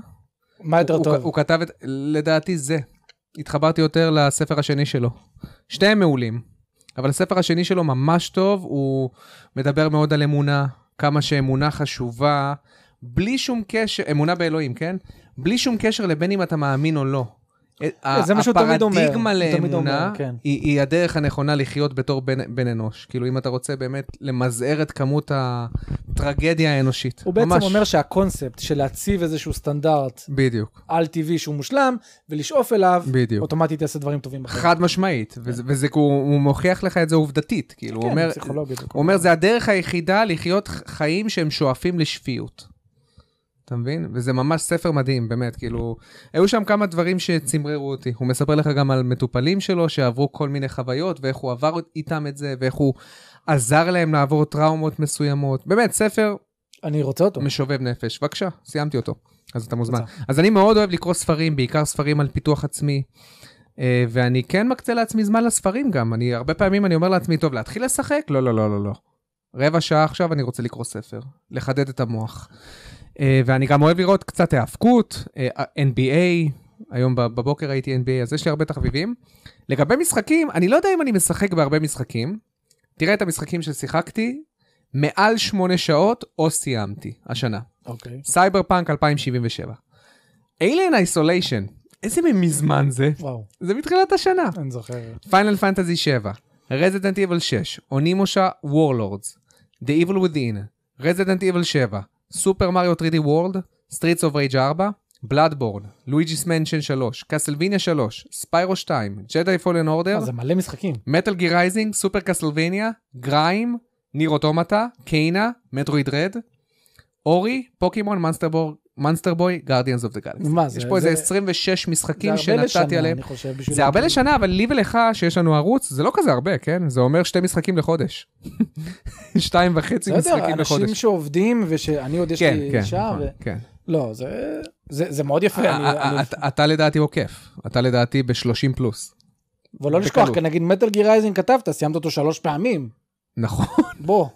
מה יותר
הוא-
טוב?
הוא כתב את, לדעתי זה. התחברתי יותר לספר השני שלו. שניהם מעולים. אבל הספר השני שלו ממש טוב, הוא מדבר מאוד על אמונה, כמה שאמונה חשובה, בלי שום קשר, אמונה באלוהים, כן? בלי שום קשר לבין אם אתה מאמין או לא.
זה מה שהוא תמיד אומר,
הפרדיגמה
הוא תמיד
לאמונה
אומר, כן.
היא, היא הדרך הנכונה לחיות בתור בן, בן אנוש. כאילו, אם אתה רוצה באמת למזער את כמות הטרגדיה האנושית.
הוא בעצם
ממש.
אומר שהקונספט של להציב איזשהו סטנדרט
בדיוק,
על-טבעי שהוא מושלם, ולשאוף אליו,
בדיוק.
אוטומטית יעשה דברים טובים בחיים.
חד משמעית, וזה, וזה כי הוא, הוא מוכיח לך את זה עובדתית, כאילו,
כן,
הוא, אומר,
פסיכולוגית.
הוא אומר, זה הדרך היחידה לחיות ח- חיים שהם שואפים לשפיות. אתה מבין? וזה ממש ספר מדהים, באמת, כאילו, היו שם כמה דברים שצמררו אותי. הוא מספר לך גם על מטופלים שלו שעברו כל מיני חוויות, ואיך הוא עבר איתם את זה, ואיך הוא עזר להם לעבור טראומות מסוימות. באמת, ספר
אני רוצה אותו.
משובב נפש. בבקשה, סיימתי אותו, אז אתה מוזמן. אז אני מאוד אוהב לקרוא ספרים, בעיקר ספרים על פיתוח עצמי, אה, ואני כן מקצה לעצמי זמן לספרים גם. אני, הרבה פעמים אני אומר לעצמי, טוב, להתחיל לשחק? לא, לא, לא, לא, לא. רבע שעה עכשיו אני רוצה לקרוא ספר, לחדד את המוח. אה, ואני גם אוהב לראות קצת היאבקות, אה, NBA, היום בב- בבוקר ראיתי NBA, אז יש לי הרבה תחביבים. לגבי משחקים, אני לא יודע אם אני משחק בהרבה משחקים. תראה את המשחקים ששיחקתי, מעל שמונה שעות או סיימתי השנה.
אוקיי.
סייבר פאנק 2077. Alien Isolation, איזה מזמן זה?
וואו,
זה מתחילת השנה.
אני
אה,
זוכר.
פיינל פנטזי 7, רזידנט איבל 6, אונימושה וורלורדס, The Evil Within, רזידנט איבל 7, סופר מריו 3D World, Streets of Rage 4, בלאדבורן, לואיג'יס מנשן 3, קסלוויניה 3, ספיירו 2, ג'די פולן אורדר,
אה, זה מלא משחקים.
מטאל גי רייזינג, סופר קסלוויניה, גריים, ניר אוטומטה, קיינה, מטרואיד רד, אורי, פוקימון, מונסטר בוי, גארדיאנס אוף דה גלקסי.
מה זה?
יש פה איזה
זה-
26
זה
משחקים
הרבה
שנתתי
לשנה,
עליהם.
אני חושב. בשביל
זה הרבה
להגיד.
לשנה, אבל לי ולך, שיש לנו ערוץ, זה לא כזה הרבה, כן? זה אומר שתי משחקים לחודש. שתיים וחצי
לא יודע,
משחקים
אנשים
לחודש.
שעובדים, ושאני עוד יש
כן,
לי
כן,
אישה,
נכון,
ו...
כן.
לא, זה- זה זה מאוד יפה, אני-
אה,
אני-
אה, אתה- אתה לדעתי עוקף, אתה לדעתי ב-30 פלוס.
אבל לא לשכוח,
בקלות.
כי נגיד מטל גיר רייזינג כתבת, סיימת אותו שלוש פעמים,
נכון,
בוא.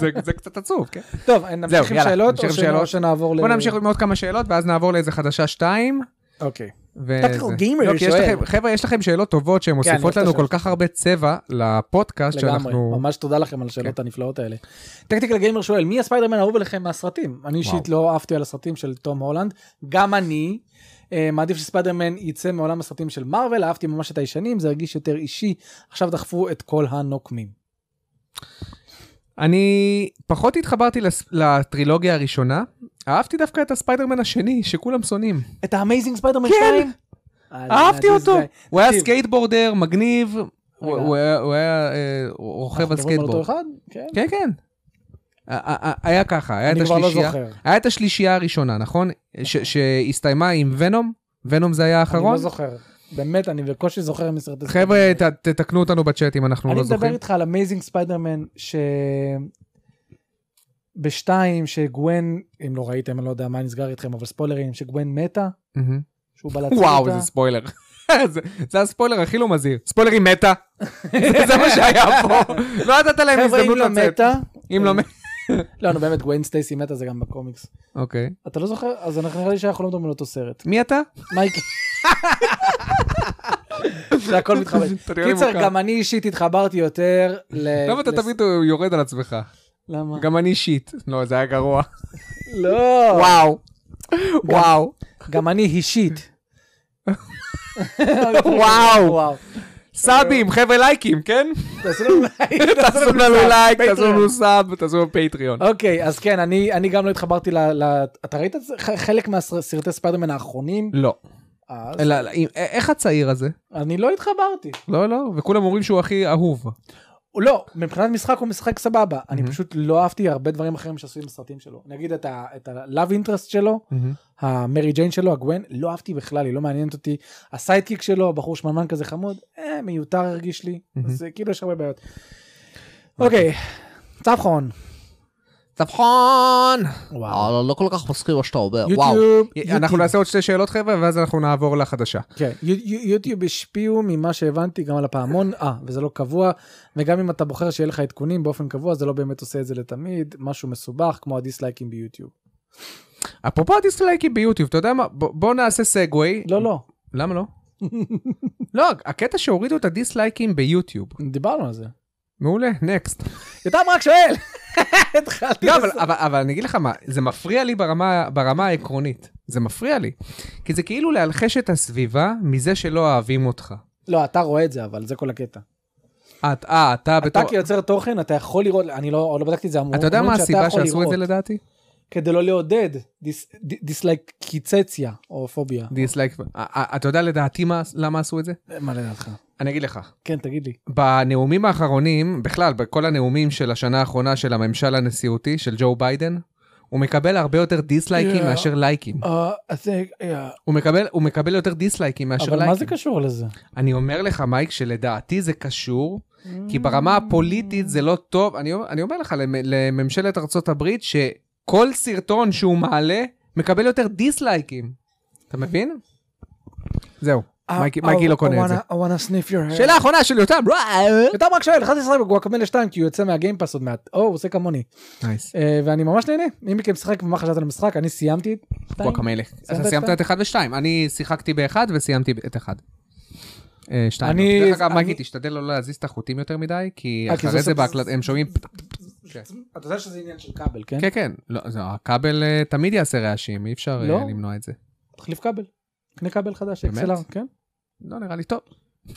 זה- זה קצת עצוב, כן?
טוב, נמשיך עם
יאללה,
שאלות,
נמשיך
או
עם
שנ- או
שאלות.
שנעבור ל...
בוא נמשיך עם עוד כמה שאלות, ואז נעבור לאיזה חדשה שתיים.
אוקיי.
ו-
Tactical
זה-
Gamer
לא, כי יש
שואל. כן,
לכם- חבר'ה, יש לכם שאלות טובות שהן
אני
מוסיפות
רוצה
לנו כל
לשאול.
כך הרבה צבע לפודקאסט
לגמרי,
שאנחנו... כן.
ממש תודה לכם על השאלות הנפלאות האלה. טקטיקל גיימר שואל, מי הספיידרמן האהוב עליכם מהסרטים? אני אישית לא אהבתי על הסרטים של תום הולנד, גם אני. אה, מעדיף שספיידרמן יצא מעולם הסרטים של מארוול, אהבתי ממש את הישנים, זה הרגיש יותר אישי, עכשיו דחפו את כל הנוקמים.
אני פחות התחברתי לס- לטרילוגיה הראשונה, אהבתי דווקא את הספיידרמן השני, שכולם שונאים.
את האמייזינג ספיידרמן
כן.
2?
אהבתי אותו! הוא היה
תקשיב.
סקייטבורדר, מגניב, הוא-
רגע.
הוא היה- הוא היה אה, רוכב על סקייטבורד.
כן.
כן, כן. ה- ה- ה- היה ככה, היה את
אני כבר לא
השלישייה.
זוכר.
היה את השלישייה הראשונה, נכון? ש- שהסתיימה עם ונום, ונום זה היה
אני
האחרון.
לא זוכר. באמת, אני בקושי זוכר מסרטי ספיידרמן.
חבר'ה, ת- תתקנו אותנו בצ'אט אם אנחנו
אני
לא
מדבר
זוכרים.
איתך על אמייזינג ספיידרמן ש... בשתיים שגוון, אם לא ראיתם, אני לא יודע מה נסגר איתכם, אבל ספוילרים, שגוון מתה,
מהמם.
שהוא בא להציל אותה.
וואו, זה ספוילר. זה- זה הספוילר הכי לא מזהיר. ספוילר היא מתה. זה זה מה שהיה פה. לא נתת להם
חבר'ה, אם
הזדמנות
לא
לצאת.
מתה...
אם לא מתה.
לא, נו באמת, גוון סטייסי מתה זה גם בקומיקס.
אוקיי.
אתה לא זוכר? אז אנחנו נראה לי שאנחנו לא מדברים על אותו סרט.
מי אתה?
מייק. זה הכל מתחבר.
אתה נראה לי
קיצר,
מוכר.
גם אני אישית התחברתי יותר ל...
למה אתה
לס-
תמיד יורד על עצמך?
למה?
גם אני אישית. לא, זה היה גרוע.
אה. לא.
וואו. וואו.
גם אני אישית.
וואו. סאבים, חבר'ה לייקים, כן?
אה. תעשו לנו לייק,
תעשו לנו
סאב,
לייק, תעשו
פטריון.
לנו סאב, תעשו לנו פטריון.
אוקיי, אז כן, אני אני גם לא התחברתי ל... ל- אתה ראית את זה? ח- חלק מהסרטי ספיידרמן האחרונים?
לא.
אז
אלא, אלא, אם- א- איך הצעיר הזה?
אני לא התחברתי.
לא, לא, וכולם אומרים שהוא הכי אהוב.
לא, מבחינת משחק הוא משחק סבבה. אני
Mhm.
פשוט לא אהבתי הרבה דברים אחרים שעשו עם הסרטים שלו. נגיד את ה- את ה-love interest שלו, המרי ג'יין שלו, הגווין, לא אהבתי בכלל, היא לא מעניינת אותי. הסיידקיק שלו, הבחור שמנמן כזה חמוד, אה, מיותר הרגיש לי. אז אה, כאילו יש הרבה בעיות. אוקיי, צו אחרון.
צפחון!
וואו.
לא כל כך מסכים מה שאתה אומר, וואו.
יוטיוב,
אה, אנחנו
יוטיוב.
נעשה עוד שתי שאלות חבר'ה, ואז אנחנו נעבור לחדשה.
כן, יו- יו- יוטיוב השפיעו ממה שהבנתי גם על הפעמון, אה, וזה לא קבוע, וגם אם אתה בוחר שיהיה לך עדכונים באופן קבוע, זה לא באמת עושה את זה לתמיד, משהו מסובך כמו הדיסלייקים ביוטיוב.
אפרופו הדיסלייקים ביוטיוב, אתה יודע מה? בוא בוא נעשה סגווי.
לא, לא,
למה לא? לא, הקטע שהורידו את הדיסלייקים ביוטיוב.
דיברנו על זה.
מעולה, נקסט.
יותם רק שואל! התחלתי
לא, אבל,
לס-
אבל, אבל אני אגיד לך מה, זה מפריע לי ברמה, ברמה העקרונית. זה מפריע לי. כי זה כאילו להלחש את הסביבה מזה שלא אוהבים אותך.
לא, אתה רואה את זה, אבל זה כל הקטע.
את, אה, אתה
אתה
בתור...
כיוצר תוכן, אתה יכול לראות, אני לא עוד לא בדקתי את זה, אמרו-
אתה יודע
אומרים
מה
שאתה
הסיבה
יכול
שעשו את זה
לראות,
לדעתי?
כדי לא לעודד דיס- ד- דיסלייקיצציה או פוביה.
דיסלייק. אה, אה, אתה יודע לדעתי מה- למה עשו את זה?
מה לדעתך?
אני אגיד לך.
כן, תגיד לי.
בנאומים האחרונים, בכלל, בכל הנאומים של השנה האחרונה של הממשל הנשיאותי, של ג'ו ביידן, הוא מקבל הרבה יותר דיסלייקים
Yeah.
מאשר לייקים.
אה, אז זה- אה,
הוא מקבל, הוא מקבל יותר דיסלייקים מאשר לייקים.
אבל מה זה קשור לזה?
אני אומר לך, מייק, שלדעתי זה קשור, כי ברמה הפוליטית זה לא טוב. אני, אני אומר לך, למ, לממשלת ארצות הברית, שכל סרטון שהוא מעלה, מקבל יותר דיסלייקים. אתה מבין? זהו, מייקי- מייקי לא קונה את זה.
אה, I wanna sniff your hair.
שאלה אחרונה של יותם.
אתה רק שואל, התחלתי לשחק בגואקמלה 2 כי הוא יוצא מהגיימפאס עוד מעט. או, הוא עושה כמוני.
נייס.
אה, ואני ממש נהנה. מי מכם משחק ומה חשבת על המשחק? אני סיימתי את 2.
גואקמלה. אתה
את
סיימת
שתיים?
את 1 ו-2, אני שיחקתי ב-1 וסיימתי את 1. שתיים.
אני-
לא. דרך אגב,
אני-
מייקי, תשתדל לא להזיז את החוטים יותר מדי, כי
אה, כי זה
אחרי זה
עושה-
בהקלט, הם שומעים... פט-
אתה יודע שזה עניין של כבל, כן?
כן, כן. לא, זה- הכבל אה, תמיד יעשה רעשים, אי אפשר אה,
לא?
למנוע את זה.
תחליף כבל. קנה כבל חדש,
באמת?
XLR, כן?
לא נראה לי טוב.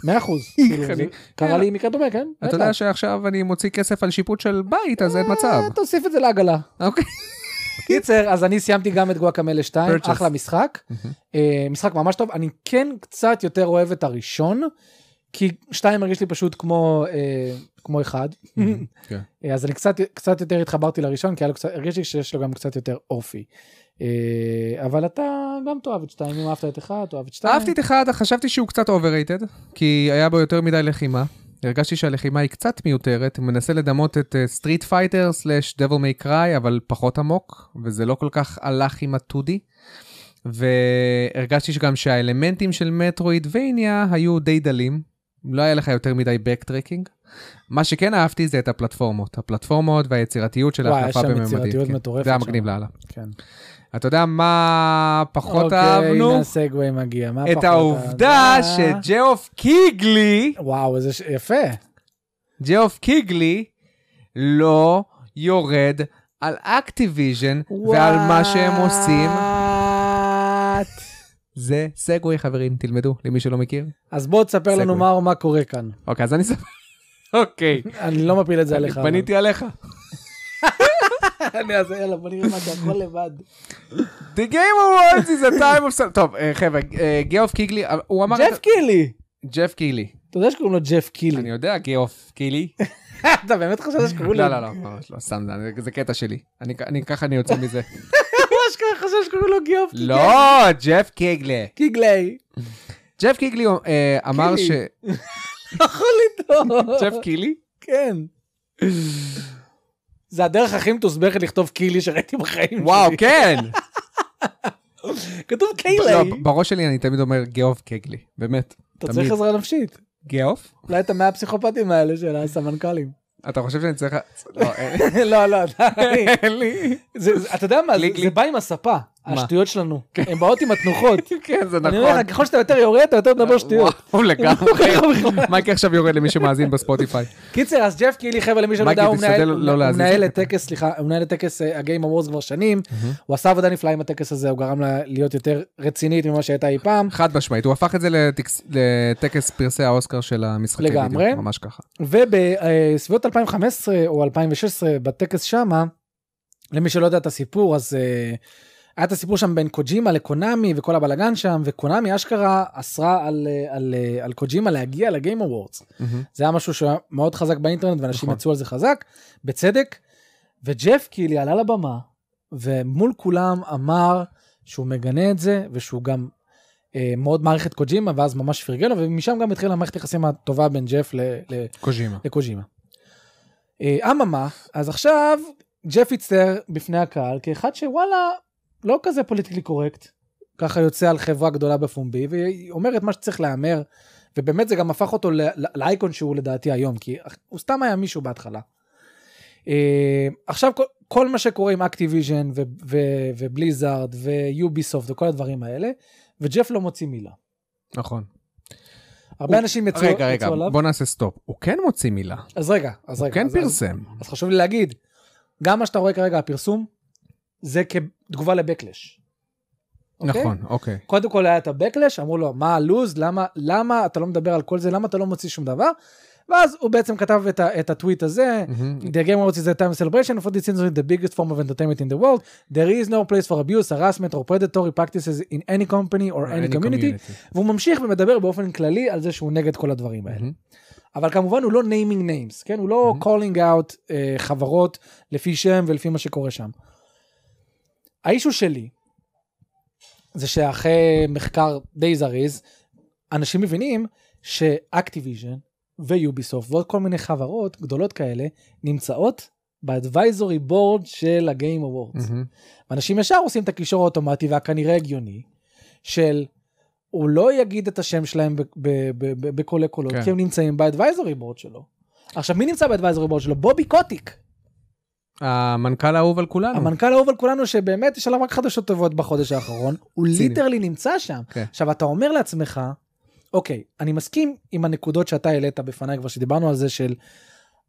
100 אחוז. כאילו,
אני-
זה- קרה לי מקרה דומה, כן?
כן. אתה יודע שעכשיו אני מוציא כסף על שיפוט של בית, אז אין מצב.
אה, תוסיף את זה לעגלה.
אוקיי.
קיצר, אז אני סיימתי גם את גואקמלה 2,
Purchase.
אחלה משחק. אה, משחק ממש טוב, אני כן קצת יותר אוהב את הראשון, כי 2 מרגיש לי פשוט כמו אה, כמו אחד.
כן.
אה, אז אני קצת קצת יותר התחברתי לראשון, כי היה לו קצת, הרגיש לי שיש לו גם קצת יותר אופי. אה, אבל אתה גם תאהב את 2, אם אהבת את 1, תאהב את 2.
אהבתי את אחד, חשבתי שהוא קצת אובררייטד, כי היה בו יותר מדי לחימה. הרגשתי שהלחימה היא קצת מיותרת, הוא מנסה לדמות את אה, סטריט פייטר סלאש דבל מי קראי, אבל פחות עמוק, וזה לא כל כך הלך עם הטודי. והרגשתי שגם שהאלמנטים של מטרואידבניה היו די דלים, לא היה לך יותר מדי בקטרקינג. מה שכן אהבתי זה את הפלטפורמות, הפלטפורמות והיצירתיות של
וואי,
ההחלפה
יש שם
בממדים.
יצירתיות
כן.
מטורפת
זה היה
שם.
מגניב לאללה.
כן.
אתה יודע מה פחות
אוקיי,
אהבנו?
הנה הסגווי מגיע. מה
את
פחות
העובדה
אהבת?
שג'אוף קיגלי,
וואו, איזה ש... יפה.
ג'אוף קיגלי לא יורד על אקטיביז'ן ועל מה שהם עושים. זה סגווי חברים, תלמדו, למי שלא מכיר.
אז בוא תספר לנו
סגווי.
מה מה קורה כאן.
אוקיי, אז אני אספר. אוקיי,
אני לא מפיל את זה
אני
עליך. אבל.
פניתי עליך.
אני אז יאללה, בוא נראה מה אתה יכול לבד.
The Game Awards is a time of... טוב, אה, חבר'ה, אה, ג'אוף קיגלי, אה, הוא אמר...
ג'ף קילי.
ג'ף קיגלי.
אתה יודע שקוראים לו ג'ף
אני
קילי.
יודע, ג'אוף קיגלי.
אתה באמת חושב שקוראים לו?
לא, לא, לא, ממש לא, סתם, זה- זה קטע שלי. אני- אני ככה אני יוצא מזה.
ממש ככה חושב שקוראים לו ג'ף קילי.
לא, ג'ף קיגלי.
קיגלי.
ג'ף קיגלי אה, אמר ש...
קילי. לא יכול לטעות.
ג'ף קילי?
כן. זה הדרך הכי מתוסבכת לכתוב קילי שראיתי בחיים שלי.
וואו, כן.
כתוב
לא,
קילי.
בראש שלי אני תמיד אומר גאוף קיגלי, באמת.
אתה
תמיד.
צריך עזרה נפשית.
גאוף?
אולי את המאה הפסיכופטים האלה של הסמנכ"לים.
אתה חושב שאני צריך... לא, אין-
לא, לא, די.
אין לי.
זה- זה- אתה יודע מה, זה-
גליק,
זה
גליק.
בא עם הספה. השטויות שלנו, הן באות עם התנוחות.
כן, זה
אני
נכון.
אומר לך, ככל שאתה יותר יורד, אתה יותר מדבר שטויות.
וואו, לגמרי. מייקי עכשיו יורד למי שמאזין בספוטיפיי.
קיצר, אז ג'ף קילי, חבר'ה, למי שלא יודע,
מייקי,
הוא
תשתדל
מנהל-
לא
הוא
להזיז
מנהל
את
את טקס, סליחה, הוא מנהל את טקס הגיים אמורס כבר שנים, הוא עשה עבודה נפלאה עם הטקס הזה, הוא גרם לה להיות יותר רצינית ממה שהייתה אי פעם,
חד משמעית, הוא הפך את זה לטקס- לטקס פרסי האוסקר של המשחקי וידאו.
לגמרי.
ממש ככה.
ובסביבות 2015 או 2016 בטקס שמה, למי שלא יודע את הסיפור, אז אה, היה את הסיפור שם בין קוג'ימה לקונאמי וכל הבלגן שם, וקונאמי אשכרה אסרה על, אה, על, אה, על קוג'ימה להגיע לגיים אמורס.
מהמם.
זה היה משהו שהיה מאוד חזק באינטרנט ואנשים
נכון.
יצאו על זה חזק, בצדק. וג'ף קילי עלה לבמה ומול כולם אמר שהוא מגנה את זה ושהוא גם אה, מאוד מעריך את קוג'ימה ואז ממש פרגן לו ומשם גם התחילה המערכת יחסים הטובה בין ג'ף ל- ל-
קוז'ימה.
לקוג'ימה. אה, אממה, אז עכשיו ג'ף הצטער בפני הקהל כאחד שוואלה לא כזה פוליטיקלי קורקט, ככה יוצא על חברה גדולה בפומבי והיא אומרת מה שצריך להיאמר, ובאמת זה גם הפך אותו ל- ל- לאייקון שהוא לדעתי היום, כי הוא סתם היה מישהו בהתחלה. אה, עכשיו כל, כל מה שקורה עם אקטיביז'ן ו- ו- ובליזארד ויוביסופט וכל הדברים האלה, וג'ף לא מוציא מילה.
נכון.
הרבה
הוא-
אנשים יצאו
רגע, רגע,
יצאו עליו.
בוא נעשה סטופ. הוא כן מוציא מילה.
אז רגע, אז
הוא
רגע.
כן
אז- אז-
פרסם.
אז חשוב לי להגיד, גם מה שאתה רואה כרגע, הפרסום, זה כתגובה לבקלש.
נכון, אוקיי.
קודם כל היה את הבקלש, אמרו לו, מה הלוז, למה, למה אתה לא מדבר על כל זה, למה אתה לא מוציא שום דבר? ואז הוא בעצם כתב את, ה- את הטוויט הזה,
מהמם.
The game awards is a time of celebration for the citizens the biggest form of entertainment in the world. There is no place for abuse, harassment or predatory practices in any company or any community. והוא ממשיך ומדבר באופן כללי על זה שהוא נגד כל הדברים האלה.
מהמם.
אבל כמובן הוא לא ניימינג ניימס, כן? הוא לא
Mhm.
calling out אה, חברות לפי שם ולפי מה שקורה שם. האישו שלי, זה שאחרי מחקר די זריז, אנשים מבינים שאקטיביז'ן ויוביסופט ועוד כל מיני חברות גדולות כאלה נמצאות באדוויזורי בורד של הגיים אבורדס.
מהמם.
אנשים ישר עושים את הקישור האוטומטי והכנראה הגיוני של הוא לא יגיד את השם שלהם ב- ב- ב- ב- בקולי קולות
כן.
כי הם נמצאים באדוויזורי בורד שלו. עכשיו מי נמצא באדוויזורי בורד שלו? בובי קוטיק.
המנכ"ל האהוב על כולנו.
המנכ"ל האהוב על כולנו שבאמת יש עליו רק חדשות טובות בחודש האחרון, הוא
ציני.
ליטרלי נמצא שם.
כן.
עכשיו אתה אומר לעצמך, אוקיי, אני מסכים עם הנקודות שאתה העלית בפניי כבר שדיברנו על זה של,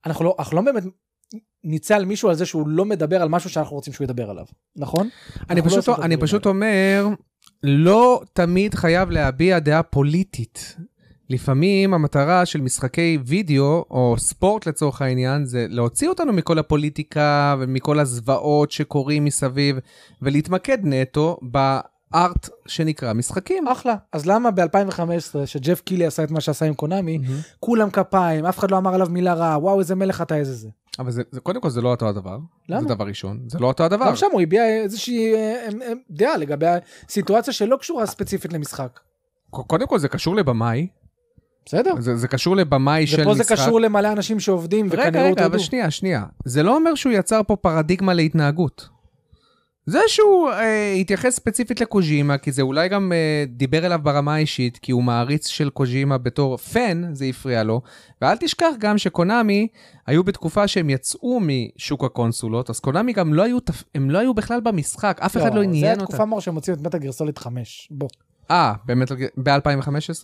אנחנו לא, אנחנו לא באמת נצא על מישהו על זה שהוא לא מדבר על משהו שאנחנו רוצים שהוא ידבר עליו, נכון? אנחנו
אני
לא
פשוט,
עושים את
אני
הדברים
פשוט אומר, לא תמיד חייב להביע דעה פוליטית. לפעמים המטרה של משחקי וידאו, או ספורט לצורך העניין, זה להוציא אותנו מכל הפוליטיקה ומכל הזוועות שקורים מסביב, ולהתמקד נטו בארט שנקרא משחקים.
אחלה. אז למה ב-2015, שג'ף קילי עשה את מה שעשה עם קונאמי,
מהמם.
כולם כפיים, אף אחד לא אמר עליו מילה רעה, וואו איזה מלך אתה איזה זה.
אבל זה, זה, קודם כל זה לא אותו הדבר.
למה?
זה דבר ראשון. זה לא אותו הדבר.
גם שם הוא הביע איזושהי אה, אה, אה, דעה לגבי הסיטואציה שלא קשורה ספציפית למשחק.
ק- קודם כל זה קשור לבמאי.
בסדר?
זה, זה קשור לבמאי של משחק.
ופה זה קשור למלא אנשים שעובדים
רגע,
וכנראה
רגע,
הוטרדו.
אבל שנייה, שנייה. זה לא אומר שהוא יצר פה פרדיגמה להתנהגות. זה שהוא אה, התייחס ספציפית לקוז'ימה, כי זה אולי גם אה, דיבר אליו ברמה האישית, כי הוא מעריץ של קוז'ימה בתור פן, זה הפריע לו. ואל תשכח גם שקונאמי היו בתקופה שהם יצאו משוק הקונסולות, אז קונאמי גם לא היו, תפ- הם לא היו בכלל במשחק, אף אחד לא
זה
עניין
היה
אותם.
תקופה מור שהם הוציאו את מטה גרסולית 5. בוא.
אה, באמת, ב-2015?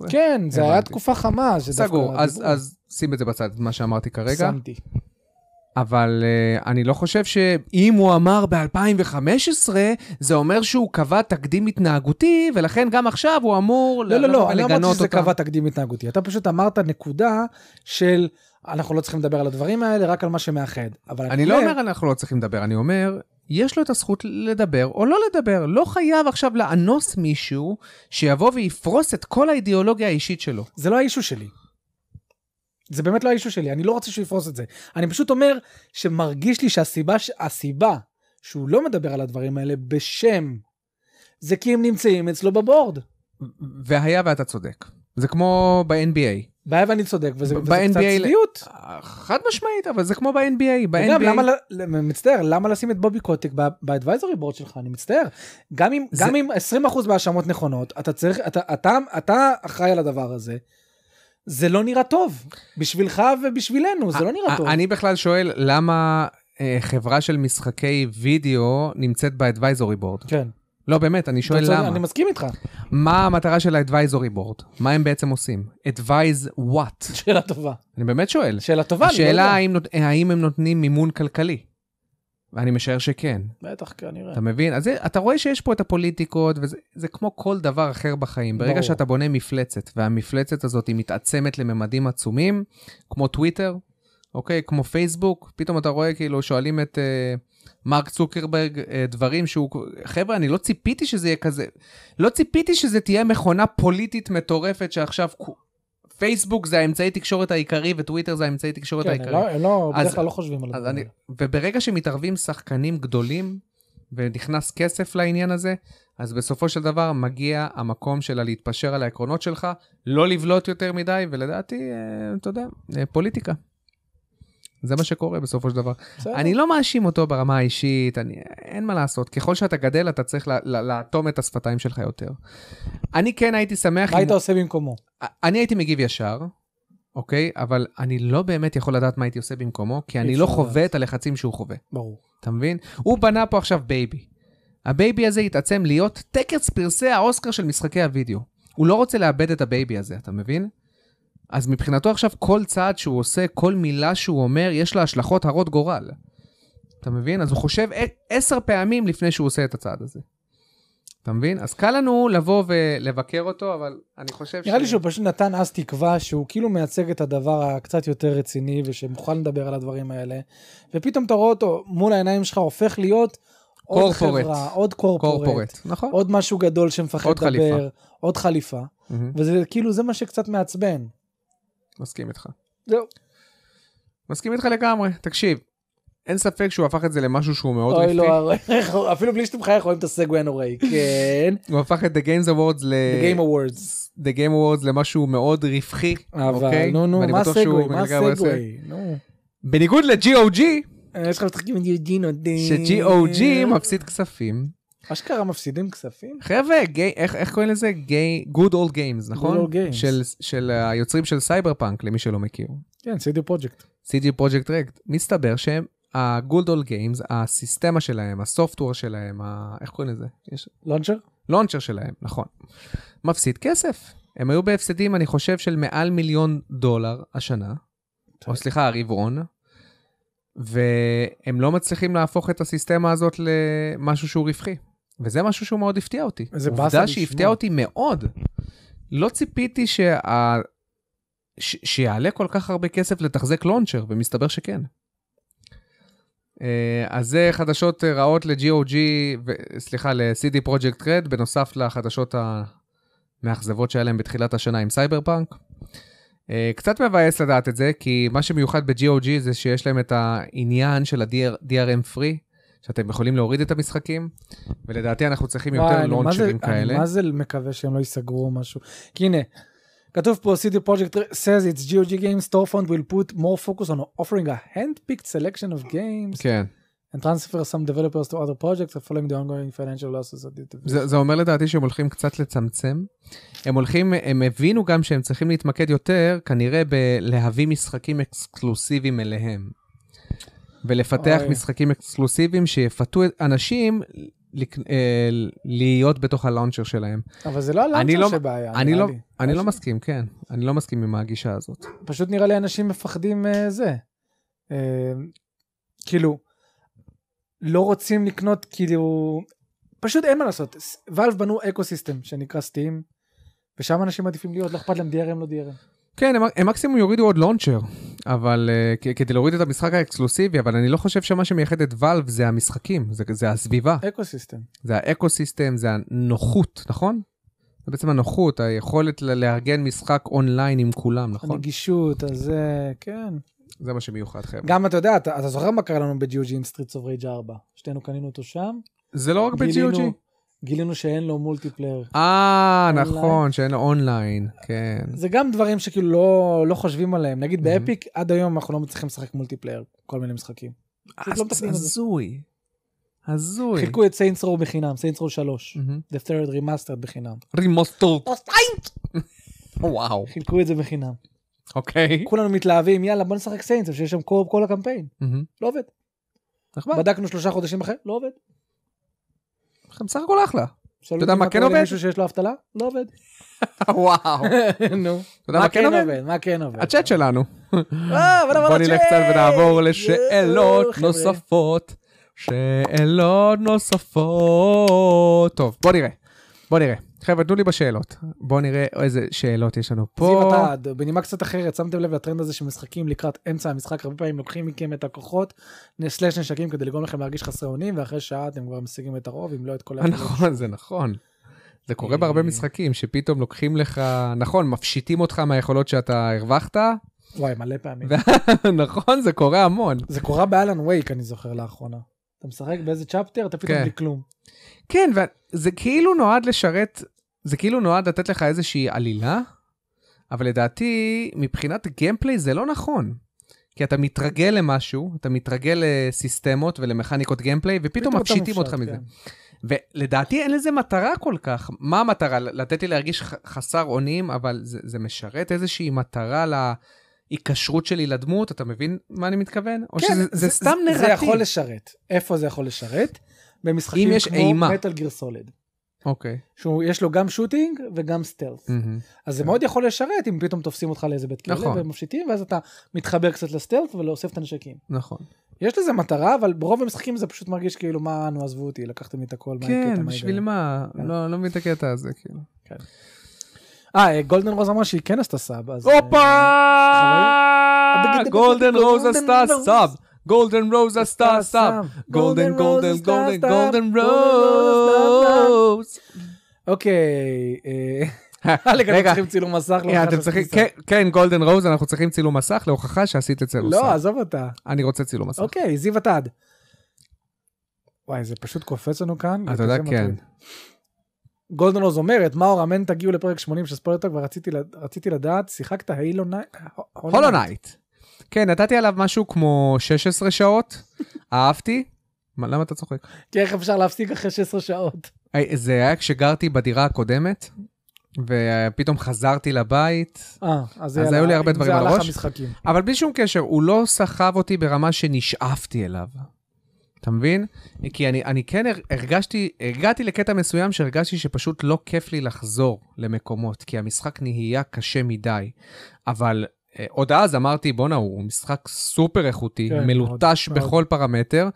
כן, זה היה
הבנתי.
תקופה חמה. שדווקא
סגור, אז,
דיברו.
אז שים את זה בצד, את מה שאמרתי כרגע.
שמתי.
אבל uh, אני לא חושב שאם הוא אמר ב-2015, זה אומר שהוא קבע תקדים התנהגותי, ולכן גם עכשיו הוא אמור
לא, לא,
לבוא
לא, אני לא אמרתי
ולגנות
שזה
אותה.
קבע תקדים התנהגותי. אתה פשוט אמרת נקודה של אנחנו לא צריכים לדבר על הדברים האלה, רק על מה שמאחד. אבל
אני לא אומר אנחנו לא צריכים לדבר, אני אומר, יש לו את הזכות לדבר או לא לדבר. לא חייב עכשיו לאנוס מישהו שיבוא ויפרוס את כל האידיאולוגיה האישית שלו.
זה לא האישו שלי. זה באמת לא האישו שלי, אני לא רוצה שהוא יפרוס את זה. אני פשוט אומר שמרגיש לי שהסיבה, ש- הסיבה שהוא לא מדבר על הדברים האלה בשם, זה כי הם נמצאים אצלו בבורד.
והיה ואתה צודק. זה כמו ב-NBA.
בעיה ואני צודק, וזה, וזה
ב-
קצת
ב-NBA
צביעות.
חד משמעית, אבל זה כמו ב-NBA.
וגם
ב-NBA...
למה, ל- מצטער, למה לשים את בובי קוטיק ב- באדוויזורי בורד שלך, אני מצטער. גם אם,
זה-
גם אם 20% מההאשמות נכונות, אתה צריך, אתה, אתה, אתה אחראי על הדבר הזה. זה לא נראה טוב, בשבילך ובשבילנו, זה לא נראה
א-
טוב.
אה, אני בכלל שואל למה אה, חברה של משחקי וידאו נמצאת באדוויזורי בורד.
כן.
לא, באמת, אני
אתה
שואל
צודק,
למה.
אני מסכים איתך.
מה המטרה של ה-advisory board? מה הם בעצם עושים? advise what?
שאלה טובה.
אני באמת שואל.
שאלה טובה. אני לא
השאלה
יודע.
האם, נות... אה, האם הם נותנים מימון כלכלי. ואני משער שכן.
בטח, כנראה.
אתה מבין? אז זה- אתה רואה שיש פה את הפוליטיקות, וזה זה כמו כל דבר אחר בחיים. ברגע
ברור.
שאתה בונה מפלצת, והמפלצת הזאת היא מתעצמת לממדים עצומים, כמו טוויטר, אוקיי? כמו פייסבוק, פתאום אתה רואה כאילו שואלים את אה, מרק צוקרברג אה, דברים שהוא... חבר'ה, אני לא ציפיתי שזה יהיה כזה... לא ציפיתי שזה תהיה מכונה פוליטית מטורפת שעכשיו... כו- פייסבוק זה האמצעי תקשורת העיקרי וטוויטר זה האמצעי תקשורת
כן,
העיקרי.
לא- הם לא,
אז-
בדרך כלל לא חושבים על
אז
זה.
אני, וברגע שמתערבים שחקנים גדולים ונכנס כסף לעניין הזה, אז בסופו של דבר מגיע המקום שלה להתפשר על העקרונות שלך, לא לבלוט יותר מדי, ולדעתי, אה, אתה יודע, אה, פוליטיקה. זה מה שקורה בסופו של דבר.
בסדר.
אני לא מאשים אותו ברמה האישית, אני, אין מה לעשות. ככל שאתה גדל, אתה צריך לה- לה- לאטום את השפתיים שלך יותר. אני כן הייתי שמח
מה היית עושה במקומו?
אני הייתי מגיב ישר, אוקיי? אבל אני לא באמת יכול לדעת מה הייתי עושה במקומו, כי אני
אפשר
לא
לדעת.
חווה את הלחצים שהוא חווה,
ברור.
אתה מבין? הוא בנה פה עכשיו בייבי. הבייבי הזה התעצם להיות טקס פרסי האוסקר של משחקי הוידאו. הוא לא רוצה לאבד את הבייבי הזה, אתה מבין? אז מבחינתו עכשיו כל צעד שהוא עושה, כל מילה שהוא אומר, יש לה השלכות הרות גורל. אתה מבין? אז הוא חושב ע- עשר פעמים לפני שהוא עושה את הצעד הזה. אתה מבין? אז קל לנו לבוא ולבקר אותו, אבל אני חושב
נראה לי שהוא פשוט נתן אז תקווה שהוא כאילו מייצג את הדבר הקצת יותר רציני ושמוכן לדבר על הדברים האלה. ופתאום אתה רואה אותו מול העיניים שלך הופך להיות עוד
קורפורט.
חברה, עוד קורפורט,
קורפורט. נכון.
עוד משהו גדול שמפחד
עוד חליפה.
לדבר, עוד חליפה.
מהמם,
וזה כאילו זה מה שקצת מעצבן.
מסכים איתך.
זהו.
מסכים איתך לגמרי. תקשיב, אין ספק שהוא הפך את זה למשהו שהוא מאוד
אוי
רווחי.
לא, אפילו בלי שאתה מחייך רואים את הסגווי הנוראי.
אה,
כן.
הוא הפך את The Games Awards ל...
The Game Awards.
The Game Awards למשהו מאוד רווחי.
אבל
אוקיי?
נו נו,
ואני
מה
בטוח שהוא
סגווי? מה
מגלגל על הסגווי.
סגווי? נו.
בניגוד ל-GOG,
אה, יש לך משחקים עם יוג'ין עודין. אה.
ש-GOG מפסיד כספים.
אשכרה מפסידים כספים?
חבר'ה, גי- איך איך קוראים לזה? גיי- Good Old Games, נכון?
Old Games.
של- של היוצרים של סייבר פאנק, למי שלא מכיר.
כן, CD פרויקט.
CG פרויקט רקט, מסתבר שהם, ה-good old games, הסיסטמה שלהם, הסופטוור שלהם, ה... איך קוראים לזה? יש...
לונצ'ר?
לונצ'ר שלהם, נכון. מפסיד כסף. הם היו בהפסדים, אני חושב, של מעל מיליון דולר השנה, או סליחה, הרבעון, והם לא מצליחים להפוך את הסיסטמה הזאת למשהו שהוא רווחי. וזה משהו שהוא מאוד הפתיע אותי.
איזה באסה
עובדה
לשמוע.
שהפתיעה אותי מאוד. לא ציפיתי שה... ש... שיעלה כל כך הרבה כסף לתחזק לונצ'ר, ומסתבר שכן. אה, אז זה חדשות אה, רעות ל-GOG, ו- סליחה, ל-CD פרויקט רד, בנוסף לחדשות המאכזבות שהיה להם בתחילת השנה עם סייבר פאנק. אה, קצת מבאס לדעת את זה, כי מה שמיוחד ב-GOG זה שיש להם את העניין של ה-DRM free, שאתם יכולים להוריד את המשחקים, ולדעתי אנחנו צריכים יותר
וואי, אני מה זה-
לונצ'רים
אני
כאלה.
מה זה מקווה שהם לא ייסגרו או משהו? כי הנה, כתוב פה CD פרויקט says it's GOG Games storefront will put more focus on offering a hand-picked selection of games
כן,
and transfer some developers to other projects following the ongoing financial losses of the division.
זה, זה אומר לדעתי שהם הולכים קצת לצמצם. הם הולכים, הם הבינו גם שהם צריכים להתמקד יותר, כנראה בלהביא משחקים אקסקלוסיביים אליהם. ולפתח
אוי.
משחקים אקסקלוסיביים שיפתו את- אנשים לק... אה, להיות בתוך הלאונצ'ר שלהם.
אבל זה לא
אני
הלונצ'ר
לא-
שבעיה,
אני
נראה
לא,
לי.
אני לא מסכים, כן. אני לא מסכים עם הגישה הזאת.
פשוט נראה לי אנשים מפחדים אה, זה. אה, כאילו, לא רוצים לקנות, כאילו, פשוט אין מה לעשות. ואלף בנו אקו סיסטם שנקרא סטים, ושם אנשים עדיפים להיות, לא אכפת להם DRM לא DRM.
כן, הם, הם מקסימום יורידו עוד לונצ'ר, אבל uh, כדי להוריד את המשחק האקסקלוסיבי, אבל אני לא חושב שמה שמייחד את ואלב זה המשחקים, זה, זה הסביבה.
אקו סיסטם.
זה האקו-סיסטם, זה הנוחות, נכון? זה בעצם הנוחות, היכולת ל- לארגן משחק אונליין עם כולם, נכון?
הנגישות, אז זה, כן.
זה מה שמיוחד, חבר'ה.
גם אתה יודע, אתה אתה זוכר מה קרה לנו בג'יוג'י עם סטריטס אוף רייג' 4? שתינו קנינו אותו שם.
זה לא רק
גילינו-
ב-GOG.
גילינו שאין לו מולטיפלייר.
אה,
אונליין.
נכון, שאין לו אונליין, כן.
זה גם דברים שכאילו לא, לא חושבים עליהם. נגיד
מהמם.
באפיק, עד היום אנחנו לא מצליחים לשחק מולטיפלייר, כל מיני משחקים. פשוט לא מתקנים את זה.
הזוי. הזוי.
חילקו את סיינס רו בחינם, סיינס רו 3,
מהמם.
The Third Remastered בחינם.
רימוסטור. וואו.
חילקו את זה בחינם.
אוקיי.
כולנו מתלהבים, יאללה בוא נשחק סיינס, אבל שיש שם קורב כל הקמפיין.
מהמם.
לא עובד.
נחמד.
בדקנו שלושה חודשים אחרי, לא עובד.
בסך הכל אחלה.
שאלו
אתה יודע
אותי
מה כן
קורה
עובד?
למישהו שיש לו אבטלה? לא עובד.
וואו.
נו.
יודע מה כן עובד?
מה כן עובד?
הצ'אט שלנו.
אה, אבל עבר
בוא נלך
הצ'אט.
קצת ונעבור
יואו,
לשאלות
חבר'ה.
נוספות. שאלות נוספות. טוב, בוא נראה. בוא נראה. חבר'ה, תנו לי בשאלות. בוא נראה איזה שאלות יש לנו
זיו,
פה.
אתה ד- בנימה קצת אחרת, שמתם לב לטרנד הזה שמשחקים לקראת אמצע המשחק, הרבה פעמים לוקחים מכם את הכוחות, סלאש נשקים כדי לגרום לכם להרגיש חסרי אונים, ואחרי שעה אתם כבר משיגים את הרוב, אם לא את כל ה...
נכון, זה נכון. זה קורה בהרבה
אה.
משחקים, שפתאום לוקחים לך, נכון, מפשיטים אותך מהיכולות שאתה הרווחת,
וואי, מלא פעמים.
נכון, זה קורה המון.
זה קורה באלן וייק, אני זוכר לאחרונה. אתה משחק באיזה צ'פטר, אתה פתאום
כן.
בלי כלום.
כן, וזה כאילו נועד לשרת, זה כאילו נועד לתת לך איזושהי עלילה, אבל לדעתי, מבחינת גיימפליי זה לא נכון. כי אתה מתרגל למשהו, אתה מתרגל לסיסטמות ולמכניקות גיימפליי, ופתאום
אתה
מפשיטים אותך
מופשט,
מזה.
כן.
ולדעתי אין לזה מטרה כל כך. מה המטרה? לתת לי להרגיש ח- חסר אונים, אבל זה, זה משרת איזושהי מטרה להיקשרות שלי לדמות, אתה מבין מה אני מתכוון? או שזה זה, זה סתם נרטיב.
כן, זה יכול לשרת. איפה זה יכול לשרת? במשחקים
אם יש
כמו
אימה.
מטל גיר סוליד.
אוקיי.
שיש לו גם שוטינג וגם סטלס.
מהמם.
אז זה
כן.
מאוד יכול לשרת אם פתאום תופסים אותך לאיזה בית כלא
נכון.
ומפשיטים ואז אתה מתחבר קצת לסטלט ולאוסף את הנשקים.
נכון.
יש לזה מטרה אבל ברוב המשחקים זה פשוט מרגיש כאילו מה נו עזבו אותי לקחתם לי את הכל. מה הקטע,
כן,
מה
בשביל
ההיגיון?"
מה?
כן.
לא לא מבין את הקטע הזה, כאילו.
אה גולדן רוז אמרה שהיא כן עשתה סאב. אז, אה,
הופה! גולדן רוז עשתה
רוז.
סאב! גולדן רוז עשתה
עשתה
סאב!
סאב. גולדן
גולדן, גולדן,
רוז
גולדן,
עשתה
גולדן
סאב. גולדן רוז
רוז!
אה, אוקיי. אה, אלק, אנחנו
רגע,
צריכים צילום מסך. לא
אה,
להוכחה
אתם
שעשית
צריכים,
סאב.
כן, כן, גולדן רוז, אנחנו צריכים צילום מסך להוכחה שעשית את זה
לא
לא,
עזוב אותה.
אני רוצה צילום מסך.
אוקיי זיו עתד. וואי זה פשוט קופץ לנו כאן.
אתה יודע,
זה כזה
כן.
מטריד. גולדן רוז אומרת מאור אמן תגיעו לפרק 80 של ספוילטוק ורציתי לד- רציתי לדעת שיחקת הילו אה, נייט.
הולו נייט. כן, נתתי עליו משהו כמו 16 שעות, אהבתי. מה, למה אתה צוחק?
כי איך אפשר להפסיק אחרי 16 שעות?
היי, זה היה כשגרתי בדירה הקודמת, ופתאום חזרתי לבית,
אה, אז
אז
יאללה,
היו לי הרבה
אם
דברים על
זה הלך
הראש.
המשחקים.
אבל בלי שום קשר, הוא לא סחב אותי ברמה שנשאפתי אליו. אתה מבין? כי אני, אני כן הר- הרגשתי, הגעתי לקטע מסוים שהרגשתי שפשוט לא כיף לי לחזור למקומות, כי המשחק נהיה קשה מדי. אבל אה, עוד אז אמרתי, בואנה, הוא משחק סופר איכותי,
כן,
כן, מלוטש
מאוד,
מאוד, בכל מאוד. פרמטר.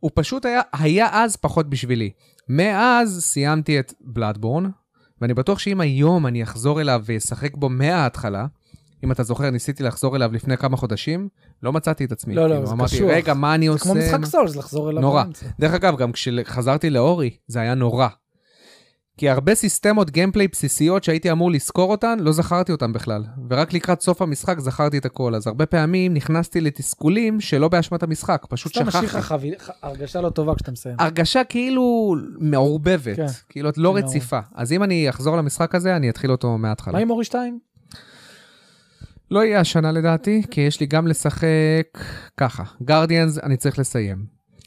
הוא פשוט היה, היה אז פחות בשבילי. מאז סיימתי את בלאדבורן, ואני בטוח שאם היום אני אחזור אליו ואשחק בו מההתחלה, אם אתה זוכר, ניסיתי לחזור אליו לפני כמה חודשים, לא מצאתי את עצמי.
לא, לא,
כאילו,
זה
אמרתי,
קשוח.
רגע, מה אני
זה
עושה?
כמו
מה-
משחק סולס לחזור אליו.
נורא.
באמצע.
דרך אגב, גם כשחזרתי לאורי, זה היה נורא. כי הרבה סיסטמות גיימפליי בסיסיות שהייתי אמור לזכור אותן, לא זכרתי אותן בכלל. ורק לקראת סוף המשחק זכרתי את הכל. אז הרבה פעמים נכנסתי לתסכולים שלא באשמת המשחק, פשוט
סתם משאיר לך
שכחתי.
חביל- ח- הרגשה לא טובה כשאתה מסיים.
הרגשה כאילו מעורבבת,
כן.
כאילו את לא
מעורב.
רציפה. אז אם אני אחזור למשחק הזה, אני אתחיל אותו מההתחלה.
מה עם אורי 2?
לא יהיה השנה לדעתי, כי יש לי גם לשחק ככה, גרדיאנס אני צריך לסיים.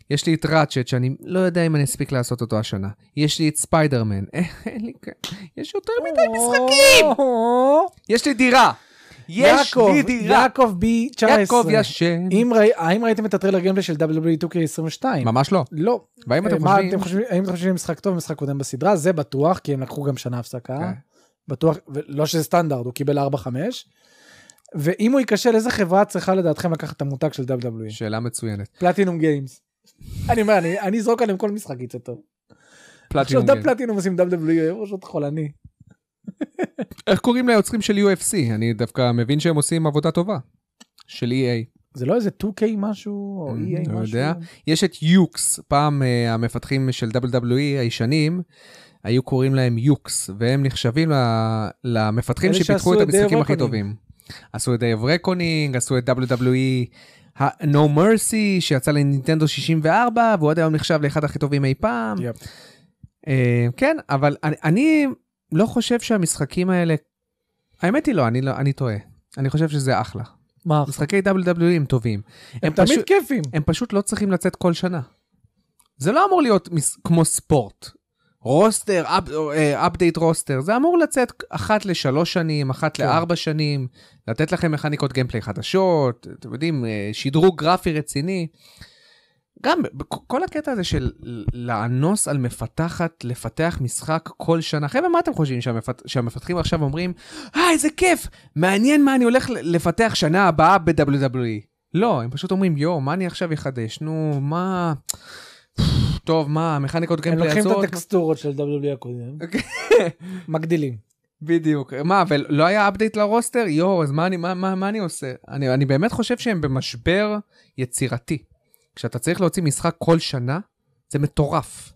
יש לי את ראצ'ט שאני לא יודע אם אני אספיק לעשות אותו השנה. יש לי את ספיידרמן, אה, אין לי כ- יש יותר מדי משחקים! יש לי דירה! יש
יעקב,
לי דירה!
יעקב בי 19.
יעקב ישן.
אם ראי- האם ראיתם את הטריילר גיימפלי של E WWE 2K22?
ממש לא.
לא.
והאם
אה,
אתם
מה אתם
חושבים...
חושבים? האם אתם חושבים שזה משחק טוב משחק קודם בסדרה? זה בטוח, כי הם לקחו גם שנה הפסקה.
כן.
בטוח, לא שזה סטנדרט, הוא קיבל 4-5. ואם הוא ייכשל, איזה חברה צריכה לדעתכם לקחת את המותג של WWE?
שאלה מצוינת.
פלטינום גיימס. אני אומר, אני- אני אזרוק עליהם כל משחק יצא טוב. עכשיו
פלטינום
דם
גיים.
פלטינום עושים WWE, ראש עוד חולני.
איך קוראים ליוצרים של UFC? אני דווקא מבין שהם עושים עבודה טובה. של E EA.
זה לא איזה 2K משהו, או
Mm,
EA משהו? אה,
לא יודע. יש את יוקס, פעם אה, המפתחים של WWE הישנים, היו קוראים להם יוקס, והם נחשבים ל- למפתחים
אלה שעשו
שפיתחו את
את Day of
המשחקים הכי
Reckoning.
טובים. עשו את Day of Reckoning, עשו את WWE ה- No Mercy, שיצא לנינטנדו 64, והוא עד היום נחשב לאחד הכי טובים אי פעם.
יפ.
אה, כן, אבל אני- אני לא חושב שהמשחקים האלה... האמת היא לא, אני לא- אני טועה. אני חושב שזה אחלה.
מה?
משחקי WWE הם טובים.
הם תמיד כיפים.
הם פשוט לא צריכים לצאת כל שנה. זה לא אמור להיות מס... כמו ספורט. רוסטר, אפדייט רוסטר, זה אמור לצאת אחת לשלוש שנים, אחת
כן.
לארבע שנים, לתת לכם מכניקות גיימפליי חדשות, אתם יודעים, אה, שדרוג גרפי רציני. גם ב- ב- כל הקטע הזה של לאנוס על מפתחת, לפתח משחק כל שנה. חבר'ה, מה אתם חושבים שהמפת... שהמפתחים עכשיו אומרים, אה, איזה כיף, מעניין מה אני הולך ל- לפתח שנה הבאה ב-WWE. לא, הם פשוט אומרים, יואו, מה אני עכשיו אחדש? נו, מה... טוב, מה, המכניקות
הם
גיימפלי
לוקחים
הזאת?
את הטקסטורות של WWE הקודם,
אוקיי.
מגדילים.
בדיוק. מה, ולא היה update לרוסטר? יואו, אז מה אני, מה, מה, מה אני עושה? אני, אני באמת חושב שהם במשבר יצירתי. כשאתה צריך להוציא משחק כל שנה, זה מטורף.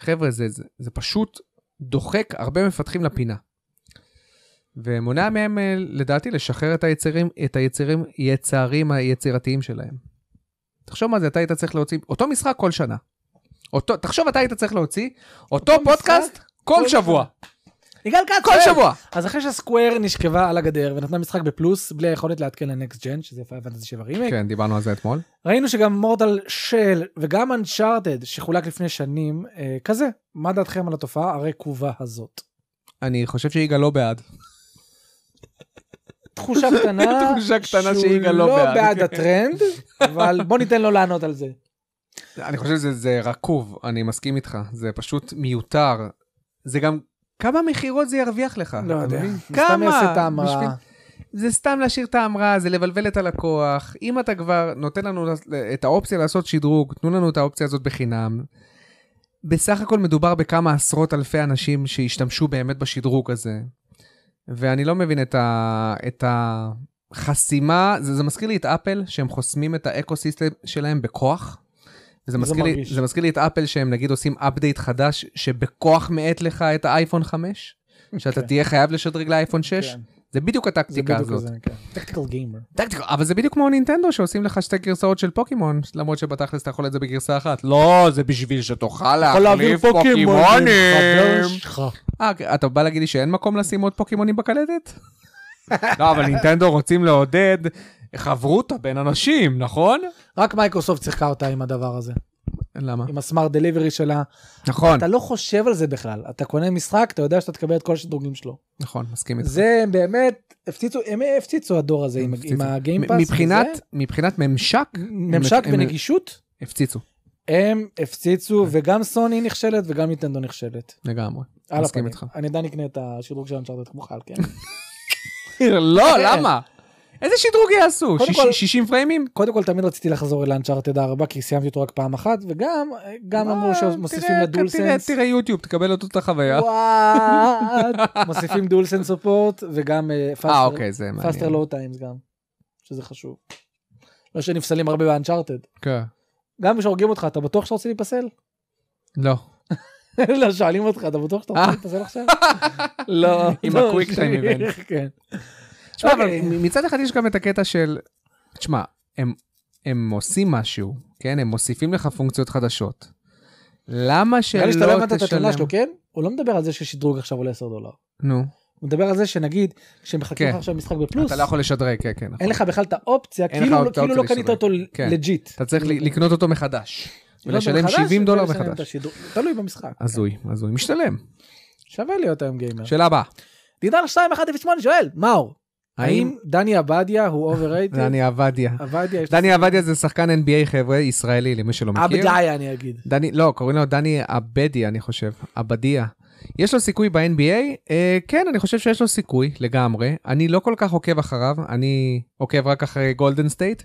חבר'ה, זה, זה, זה פשוט דוחק הרבה מפתחים לפינה. ומונע מהם, אה, לדעתי, לשחרר את היצרים, את היצרים, יצרים היצירתיים שלהם. תחשוב מה זה, אתה היית צריך להוציא אותו משחק כל שנה. אותו, תחשוב, אתה היית צריך להוציא אותו,
אותו משחק
פודקאסט כל
כל אה,
שבוע.
יגאל כץ,
כל
אוהב.
שבוע.
אז אחרי שסקוויר נשכבה על הגדר ונתנה משחק בפלוס, בלי היכולת לעדכן לנקסט ג'ן, שזה פייב פנטסי 7 רימייק,
כן, דיברנו על זה אתמול.
ראינו שגם מורטל של וגם אנצ'ארטד שחולק לפני שנים, אה, כזה, מה דעתכם על התופעה הרקובה הזאת?
אני חושב שיגאל לא בעד.
תחושה קטנה,
תחושה קטנה
שהוא
שיגאל לא בעד.
בעד הטרנד, אבל בוא ניתן לו לענות על זה.
אני חושב שזה רקוב, אני מסכים איתך. זה פשוט מיותר. זה גם... כמה מכירות זה ירוויח לך?
לא
אתה
יודע,
מבין?
סתם יעשה את ההמראה.
בשביל- זה סתם להשאיר את ההמראה, זה לבלבל את הלקוח. אם אתה כבר נותן לנו לעס- את האופציה לעשות שדרוג, תנו לנו את האופציה הזאת בחינם. בסך הכל מדובר בכמה עשרות אלפי אנשים שהשתמשו באמת בשדרוג הזה. ואני לא מבין את, ה... את החסימה, זה, זה מזכיר לי את אפל, שהם חוסמים את האקו-סיסטם שלהם בכוח. זה מזכיר, לי,
לא מרגיש.
זה מזכיר לי את אפל שהם נגיד עושים אפדייט חדש שבכוח מאט לך את האייפון 5, שאתה
כן.
תהיה חייב לשדרג לאייפון 6.
כן.
זה בדיוק
זה
הטקטיקה
בדיוק
הזאת.
זה, כן. טקטיקל גיימר.
טקטיקה, אבל זה בדיוק כמו נינטנדו שעושים לך שתי גרסאות של פוקימון, למרות שבתכלס אתה יכול את זה בגרסה אחת. לא, זה בשביל שתוכל להחליף פוקימונים. אה, כן, אתה בא להגיד לי שאין מקום לשים עוד פוקימונים בקלטת? לא, אבל נינטנדו רוצים לעודד חברותא בין אנשים, נכון?
רק מייקרוסופט שיחקה אותה עם הדבר הזה,
למה?
עם הסמארט דליברי שלה.
נכון,
אתה לא חושב על זה בכלל, אתה קונה משחק, אתה יודע שאתה תקבל את כל השדרוגים שלו.
נכון, מסכים איתך.
זה הם באמת, הפציצו, הם הפציצו הדור הזה עם- עם
הפציצו.
הגיימפאס.
מ- מבחינת- מבחינת ממשק,
ממשק
הם-
ונגישות,
הפציצו
הם הפציצו,
כן.
וגם סוני נכשלת וגם ניטנדו נכשלת.
לגמרי.
על הפנים.
מסכים איתך.
אני עדיין אקנה את השדרוג של אנצ'ארטד כמו חל, כן.
לא, למה? איזה שדרוג יעשו?
קודם
שיש-
כל-
60 פריימים?
קודם כל תמיד רציתי לחזור אל אנצ'ארטד 4 כי סיימתי אותו רק פעם אחת וגם גם
מה,
אמרו שמוסיפים
אה, תראה, תראה,
לדולסנס.
תראה יוטיוב, תקבל אותו את החוויה.
וואט. מוסיפים דולסנס סופורט וגם
אה, אוקיי, זה מעניין.
פאסטר לואו טיימס גם, שזה חשוב. לא שנפסלים הרבה באנצ'ארטד.
כן.
גם כשהורגים אותך אתה בטוח שאתה רוצה להיפסל?
לא.
לא, שואלים אותך אתה בטוח שאתה רוצה
אה.
להיפסל עכשיו? לא.
עם
לא,
ה-quick time event.
כן.
תשמע, אבל
אוקיי.
מ- מצד אחד יש גם את הקטע של... תשמע, הם- הם עושים משהו, כן? הם מוסיפים לך פונקציות חדשות. למה שלא
נראה לי
תשלם?
שאתה לא הבנת את התלונה שלו, כן? הוא לא מדבר על זה ששדרוג עכשיו עולה 10 דולר.
נו,
הוא מדבר על זה שנגיד, כשמחכים לך
כן.
עכשיו משחק בפלוס,
אתה לא יכול לשדרג, כן, כן. נכון.
אין לך בכלל את האופציה,
אין לך
כאילו
את
לא- כאילו
האופציה
לא קנית
לשדרג.
אותו
כן.
לג'יט.
אתה צריך ל- לקנות אותו מחדש.
לא,
ולשלם
מחדש,
70 דולר
ולשלם את
מחדש.
השדרוג. תלוי במשחק.
הזוי, הזוי. משתלם.
שווה להיות היום גיימר.
שאלה הבאה.
דידר 2108 שואל, מאור, האם דני עבדיה הוא אובררייטד?
דני עבדיה.
עבדיה, יש לו-
דני עבדיה זה שחקן NBA חבר'ה ישראלי למי שלא
אה,
מכיר.
עבדיה אני אגיד.
דני, לא, קוראים לו דני עבדיה, אני חושב. עבדיה. יש לו סיכוי ב-NBA? אה, כן, אני חושב שיש לו סיכוי לגמרי. אני לא כל כך עוקב אחריו, אני עוקב רק אחרי גולדן סטייט,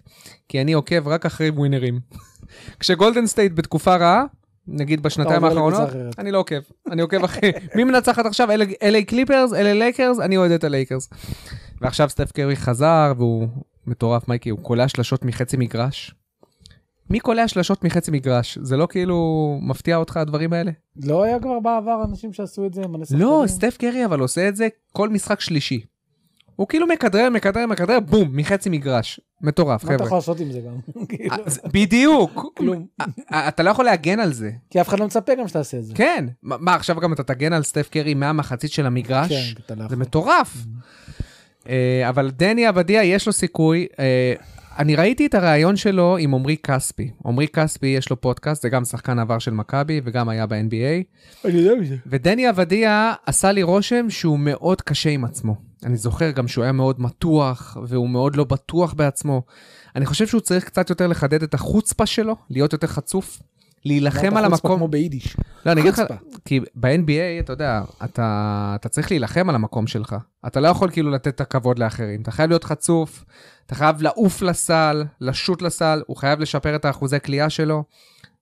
כי אני עוקב רק אחרי ווינרים. כשגולדן סטייט בתקופה רעה, נגיד בשנתיים
עובר לקבוצה
האחרונות,
אחרת.
אני לא עוקב. אני עוקב אחרי... מי מנצחת עכשיו? LA קליפרס? LA לייקרס? אני אוהד את הלייקרס. ועכשיו סטף קרי חזר, והוא מטורף, מייקי, הוא קולע שלשות מחצי מגרש. מי קולע שלשות מחצי מגרש? זה לא כאילו מפתיע אותך הדברים האלה?
לא היה כבר בעבר אנשים שעשו את זה? מלא שחקנים?
לא, סטף קרי אבל עושה את זה כל משחק שלישי. הוא כאילו מכדרר, מכדרר, מכדרר, בום, מחצי מגרש. מטורף,
מה אתה יכול
חבר'ה.
לעשות עם זה גם? כאילו,
אז בדיוק.
כלום.
אה, אתה לא יכול להגן על זה.
כי אף אחד לא מצפה גם שתעשה את זה.
כן. מה, מה, עכשיו גם אתה תגן על סטף קרי מהמחצית של המגרש?
כן, אתה לא
זה
יכול. Mm-hmm.
מטורף. אה, אבל דני עבדיה, יש לו סיכוי. אה, אני ראיתי את הריאיון שלו עם עמרי כספי. עמרי כספי, יש לו פודקאסט, זה גם שחקן עבר של מכבי וגם היה ב-NBA.
אני יודע מזה.
ודני עבדיה עשה לי רושם שהוא מאוד קשה עם עצמו. אני זוכר גם שהוא היה מאוד מתוח, והוא מאוד לא בטוח בעצמו. אני חושב שהוא צריך קצת יותר לחדד את החוצפה שלו, להיות יותר חצוף, להילחם על
אתה חוצפה
המקום.
לא, כמו ביידיש.
לא, אני אגיד לך,
חוצפה.
כי ב-NBA, אתה יודע, אתה, אתה צריך להילחם על המקום שלך. אתה לא יכול כאילו לתת את הכבוד לאחרים. אתה חייב להיות חצוף, אתה חייב לעוף לסל, לשוט לסל, הוא חייב לשפר את האחוזי קליעה שלו.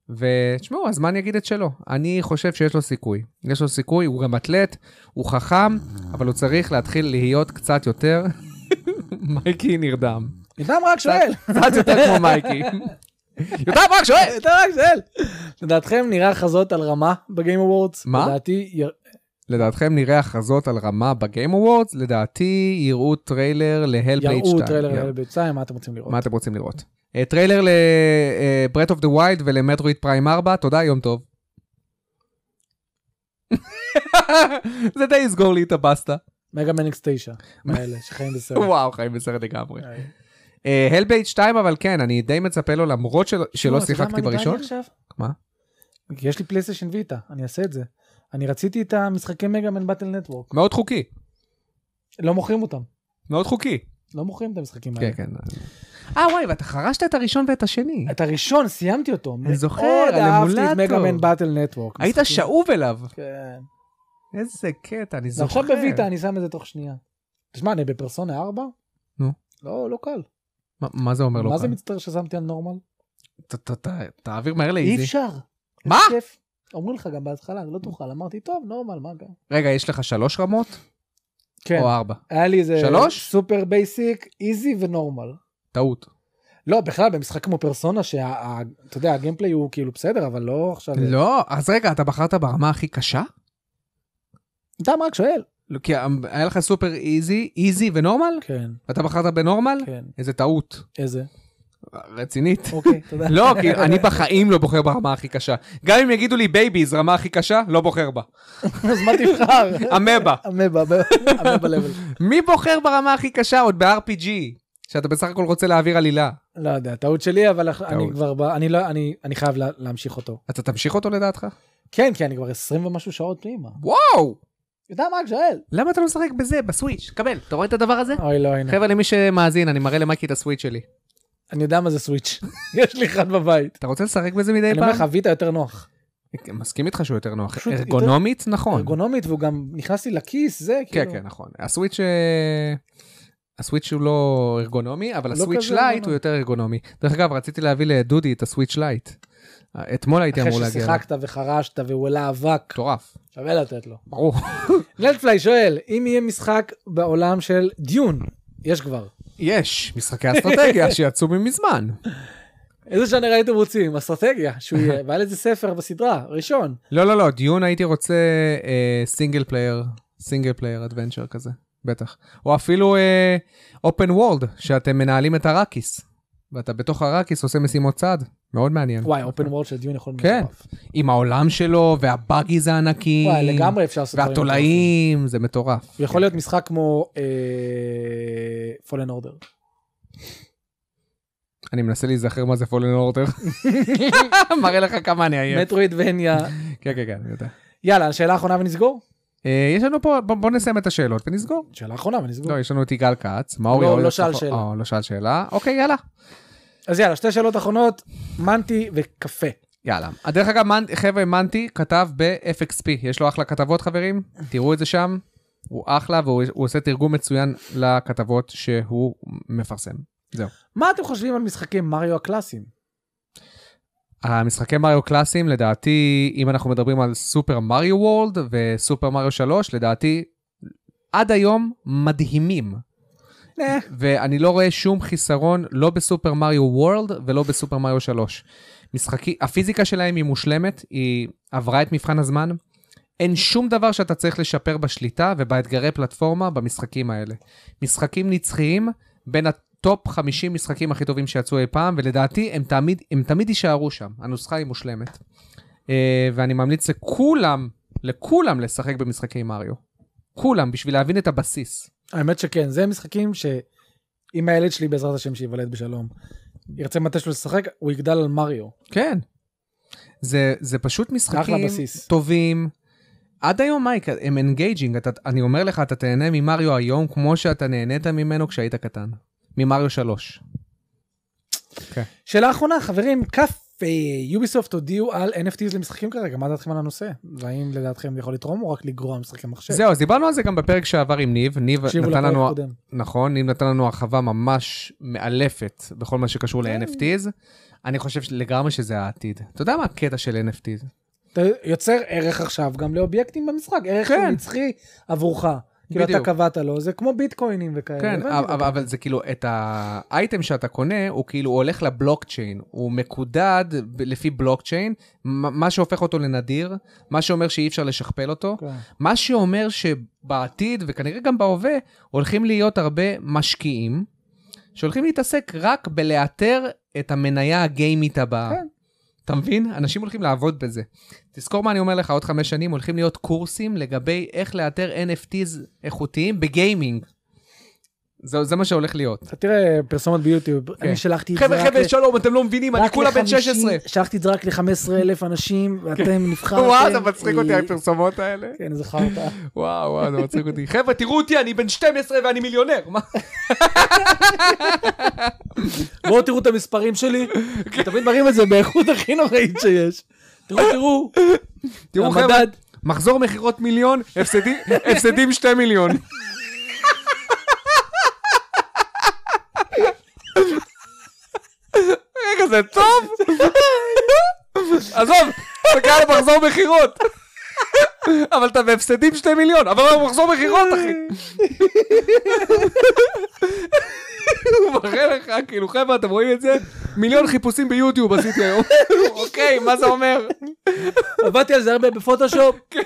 ותשמעו, הזמן יגיד את שלו. אני חושב שיש לו סיכוי. יש לו סיכוי, הוא גם אתלט, הוא חכם, אבל הוא צריך להתחיל להיות קצת יותר... מייקי נרדם.
אדם רק שואל.
קצת יותר כמו מייקי. יודע מה, שואל!
אדם רק שואל. לדעתכם נראה הכרזות על רמה בגיים אוורדס?
מה?
לדעתי יר-
לדעתכם נראה הכרזות על רמה בגיים אוורדס? לדעתי יראו טריילר להלבלייד 2.
יראו טריילר להלבלייד 2, מה אתם רוצים לראות?
מה אתם רוצים לראות? אה, טריילר אה, לברט אוף דה ווילד ולמטרואיד פריים 4, תודה, יום טוב. זה די יסגור לי את הבסטה.
מגה מניקס 9. האלה שחיים בסרט.
וואו, חיים בסרט לגמרי.
אה,
הלבלייד 2, אבל כן, אני די מצפה לו, למרות של-
תשמעו,
שלא
אתה יודע מה
שיחקתי
נראה לי
בראשון.
עכשיו?
מה?
כי יש לי פלייסטיישן ויטה, אני אעשה את זה. אני רציתי את המשחקי מגה מן באטל נטוורק.
מאוד חוקי,
לא מוכרים אותם.
מאוד חוקי.
לא מוכרים את המשחקים
כן,
האלה.
כן. אה, וואי, ואתה חרשת את הראשון ואת השני.
את הראשון, סיימתי אותו.
אני זוכר,
מאוד אהבתי את
על
מגה מן
אמולטור.
באטל נטוורק.
היית
משחקים-
שאוב אליו.
כן.
איזה קטע, אני
זה
זוכר.
עכשיו בויטה, נכון, אני שם את זה תוך שנייה. תשמע, אני בפרסונה 4?
נו. לא,
לא, לא קל.
מה- מה זה אומר לו?
מה זה
כאן?
מצטער ששמתי על נורמל?
ת- ת- ת- תעביר מהר
אי
לאיזי.
אפשר.
מה?
איזה כיף. אומרים לך גם בהתחלה, לא תוכל. אמרתי, טוב, נורמל, מה גם?
רגע, יש לך שלוש רמות?
כן.
או ארבע?
היה לי איזה...
שלוש?
סופר בייסיק, איזי ונורמל.
טעות.
לא, בכלל, במשחק כמו פרסונה, שאתה יודע, הגיימפליי הוא כאילו בסדר, אבל לא עכשיו...
לא, אז רגע, אתה בחרת ברמה הכי קשה?
אדם רק שואל.
לא, כי היה לך סופר איזי, איזי ונורמל?
כן,
ואתה בחרת בנורמל?
כן.
איזה טעות.
איזה?
רצינית.
אוקיי, תודה.
לא, כי אני בחיים לא בוחר ברמה הכי קשה. גם אם יגידו לי בייביז, רמה הכי קשה, לא בוחר בה.
אז מה תבחר?
אמבה.
אמבה, אמבה לבל.
מי בוחר ברמה הכי קשה עוד ב-RPG? שאתה בסך הכל רוצה להעביר עלילה.
לא יודע, טעות שלי, אבל אח- אני
טעות.
כבר... ב- אני לא... אני- אני חייב לה- להמשיך אותו.
אתה תמשיך אותו לדעתך?
כן, כי אני כבר 20 ומשהו שעות פנימה.
וואו!
יודע מה, רק שואל.
למה אתה לא משחק בזה, בסוויץ'? קבל, אתה רואה את הדבר הזה?
אוי, לא, הנה.
חבר'ה, למי שמאזין, אני מראה למייקי את הסוויץ' שלי.
אני יודע מה זה סוויץ'. יש לי אחד בבית.
אתה רוצה לשחק בזה מדי
אני אומר לך,
פעם?
הוויטה יותר נוח.
מסכים איתך שהוא יותר נוח.
פשוט
ארגונומית, נכון.
ארגונומית, והוא גם נכנס לי לכיס, זה
כן,
כאילו...
כן, נכון. הסוויץ' אה, הסוויץ' הוא לא ארגונומי, אבל
לא
הסוויץ'
כזה
לייט
ארגונומי.
הוא יותר ארגונומי. דרך אגב, רציתי להביא לדודי את הסוויץ' לייט. אה, אתמול הייתי
אחרי
אמור להגיע. אליו.
ששיחקת וחרשת והוא עלה אבק,
מטורף,
שווה לתת לו.
ברור.
נטפליי שואל, אם יהיה משחק בעולם של דיון, יש כבר.
יש משחקי אסטרטגיה שיצאו מזמן.
איזה ז'אנר הייתם רוצים? אסטרטגיה, שהוא יהיה, והיה לזה ספר בסדרה, ראשון.
לא, לא, לא, דיון הייתי רוצה אה, סינגל פלייר, סינגל פלייר אדוונצ'ר כזה, בטח. או אפילו אופן וורלד, שאתם מנהלים את הראקיס, ואתה בתוך הראקיס עושה משימות צד, מאוד מעניין.
וואי, אוקיי. אופן וורד של דיון יכול להיות
כן.
מטורף.
עם העולם שלו, והבאגיז הענקים,
וואי, לגמרי אפשר לעשות דברים מטורפים.
והתולעים, זה מטורף.
הוא יכול להיות משחק כמו אה, פולן אורדר.
אני מנסה להיזכר מה זה פולן אורטר. מראה לך כמה אני עייף.
מטרואידבניה.
כן, כן, כן, אני יודע.
יאללה, שאלה אחרונה ונסגור?
אה, יש לנו פה, בוא בוא נסיים את השאלות ונסגור.
שאלה אחרונה ונסגור.
לא, יש לנו את יגאל כץ, מאורי
לא,
אורלב
לא שאל
שחור-
שאלה.
אה, לא שאל שאלה. אוקיי, יאללה.
אז יאללה, שתי שאלות אחרונות, מנטי וקפה.
יאללה. אה, דרך אגב, מנ... חבר'ה, מנטי כתב ב-FXP, יש לו אחלה כתבות חברים, תראו את זה שם, הוא אחלה והוא הוא עושה תרגום מצוין לכתבות שהוא מפרסם.
מה אתם חושבים על משחקי מריו הקלאסיים?
המשחקי מריו קלאסיים, לדעתי, אם אנחנו מדברים על סופר מריו וורלד וסופר מריו 3, לדעתי, עד היום מדהימים.
אה.
ואני לא רואה שום חיסרון, לא בסופר מריו וורלד ולא בסופר מריו 3. משחקי, הפיזיקה שלהם היא מושלמת, היא עברה את מבחן הזמן. אין שום דבר שאתה צריך לשפר בשליטה ובאתגרי פלטפורמה במשחקים האלה. משחקים נצחיים בין הטופ 50 משחקים הכי טובים שיצאו אי פעם, ולדעתי הם תמיד, הם תמיד יישארו שם, הנוסחה היא מושלמת. אה, ואני ממליץ לכולם, לכולם לשחק במשחקי מריו. כולם, בשביל להבין את הבסיס.
האמת שכן, זה משחקים שאם הילד שלי בעזרת השם שייוולד בשלום, ירצה מתישהו לשחק, הוא יגדל על מריו.
כן. זה, זה פשוט משחקים
בסיס.
טובים, עד היום, מייק, הם אנגייג'ינג. אני אומר לך, אתה תהנה ממריו היום כמו שאתה נהנית ממנו כשהיית קטן. ממריו 3.
שאלה אחרונה, חברים, קאפה, יוביסופט הודיעו על NFTs למשחקים כרגע, מה דעתכם על הנושא? והאם לדעתכם זה יכול לתרום או רק לגרוע משחקי מחשב?
זהו, אז דיברנו על זה גם בפרק שעבר עם ניב. ניב
תקשיבו
נתן
כן. לפרק
לנו,
הקודם.
נכון, ניב נתן לנו הרחבה ממש מאלפת בכל מה שקשור
כן.
ל-NFTs. אני חושב לגמרי שזה העתיד. אתה יודע מה הקטע של NFTs?
אתה יוצר ערך עכשיו גם לאובייקטים במשחק, ערך
כן.
שהוא נצחי עבורך. כאילו אתה
בדיוק.
קבעת לו, זה כמו ביטקוינים וכאלה.
כן,
הבנתי
אבל,
אותך.
אבל, אבל זה כאילו, את האייטם שאתה קונה, הוא כאילו הוא הולך לבלוקצ'יין, הוא מקודד ב- לפי בלוקצ'יין, מ- מה שהופך אותו לנדיר, מה שאומר שאי אפשר לשכפל אותו,
כן.
מה שאומר שבעתיד, וכנראה גם בהווה, הולכים להיות הרבה משקיעים, שהולכים להתעסק רק בלאתר את המניה הגיימית הבאה.
כן.
אתה מבין? אנשים הולכים לעבוד בזה. תזכור מה אני אומר לך, עוד חמש שנים הולכים להיות קורסים לגבי איך לאתר NFTs איכותיים בגיימינג. זה, זה מה שהולך להיות.
אתה תראה פרסומת ביוטיוב,
כן.
אני שלחתי את זה
חבר'ה,
רק ל-
חבר'ה, שלום, אתם לא מבינים, אני
רק
כולה בן
ל-
16.
50 שלחתי את זה רק ל-15 אלף אנשים, ואתם נבחרתם.
כן. וואו, זה מצחיק אותי
אה,
הפרסומות האלה.
כן, זכרת.
וואו, וואו, זה מצחיק אותי. חבר'ה, תראו אותי, אני בן 12 ואני מיליונר. מה?
בואו תראו את המספרים שלי, אני תמיד מראים את זה באיכות הכי נוראית שיש. תראו, תראו,
תראו, חבר'ה,
המדד.
מחזור מכירות מיליון, הפסדי- הפסדים 2 מיליון. רגע, זה טוב? עזוב, אתה קרא לו מחזור מכירות. אבל אתה בהפסדים 2 מיליון, אבל הוא מחזור מכירות, אחי. הוא מראה לך, כאילו, חבר'ה, אתם רואים את זה? מיליון חיפושים ביוטיוב עשיתי היום. אוקיי, מה זה אומר?
עבדתי על זה הרבה בפוטושופ.
כן.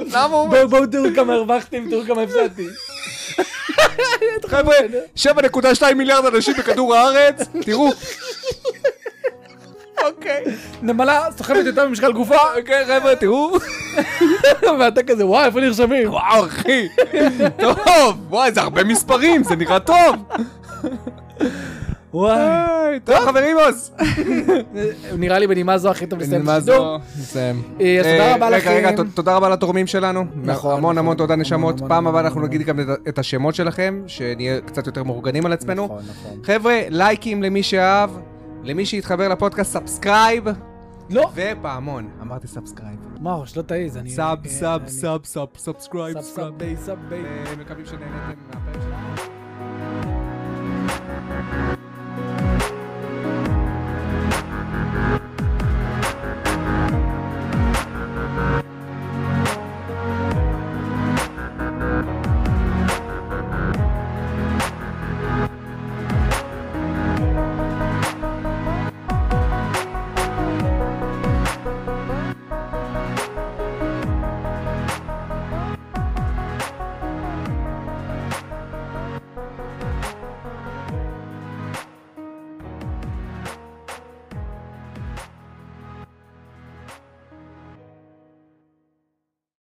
למה הוא
בואו בואו תראו כמה הרווחתם, תראו כמה הפסדתי.
חבר'ה, 7.2 מיליארד אנשים בכדור הארץ, תראו. אוקיי.
נמלה סוחבת יותר ממשקל גופה.
אוקיי, חבר'ה, תראו.
ואתה כזה, וואי, איפה נרשמים?
וואו, אחי. טוב, וואי, זה הרבה מספרים, זה נראה טוב.
וואי.
היי, טוב, חברים, אז.
נראה לי בנימה זו הכי טוב לסיים את
מה זה?
השידור.
נסיים.
אה, אז תודה
אה,
רבה לכם.
רגע, רגע, ת- תודה רבה לתורמים שלנו.
נכון,
המון
נכון.
המון תודה
המון,
נשמות.
המון,
פעם הבאה
המון,
אנחנו
המון.
נגיד גם את- את השמות שלכם, שנהיה קצת יותר מאורגנים על עצמנו.
נכון, נכון.
חבר'ה, לייקים למי שאהב, למי שהתחבר לפודקאסט, סאבסקרייב,
לא,
ופעמון. אמרתי סאבסקרייב.
מאור, שלא תעיז. אני-
סאב,
אה,
סאב,
אני-
סאב, סאב, סאבסקרייב,
סאב, סאב,
סאב.
ביי, סאב, ביי.
מקווים שנהנתם מהפרק שלנו.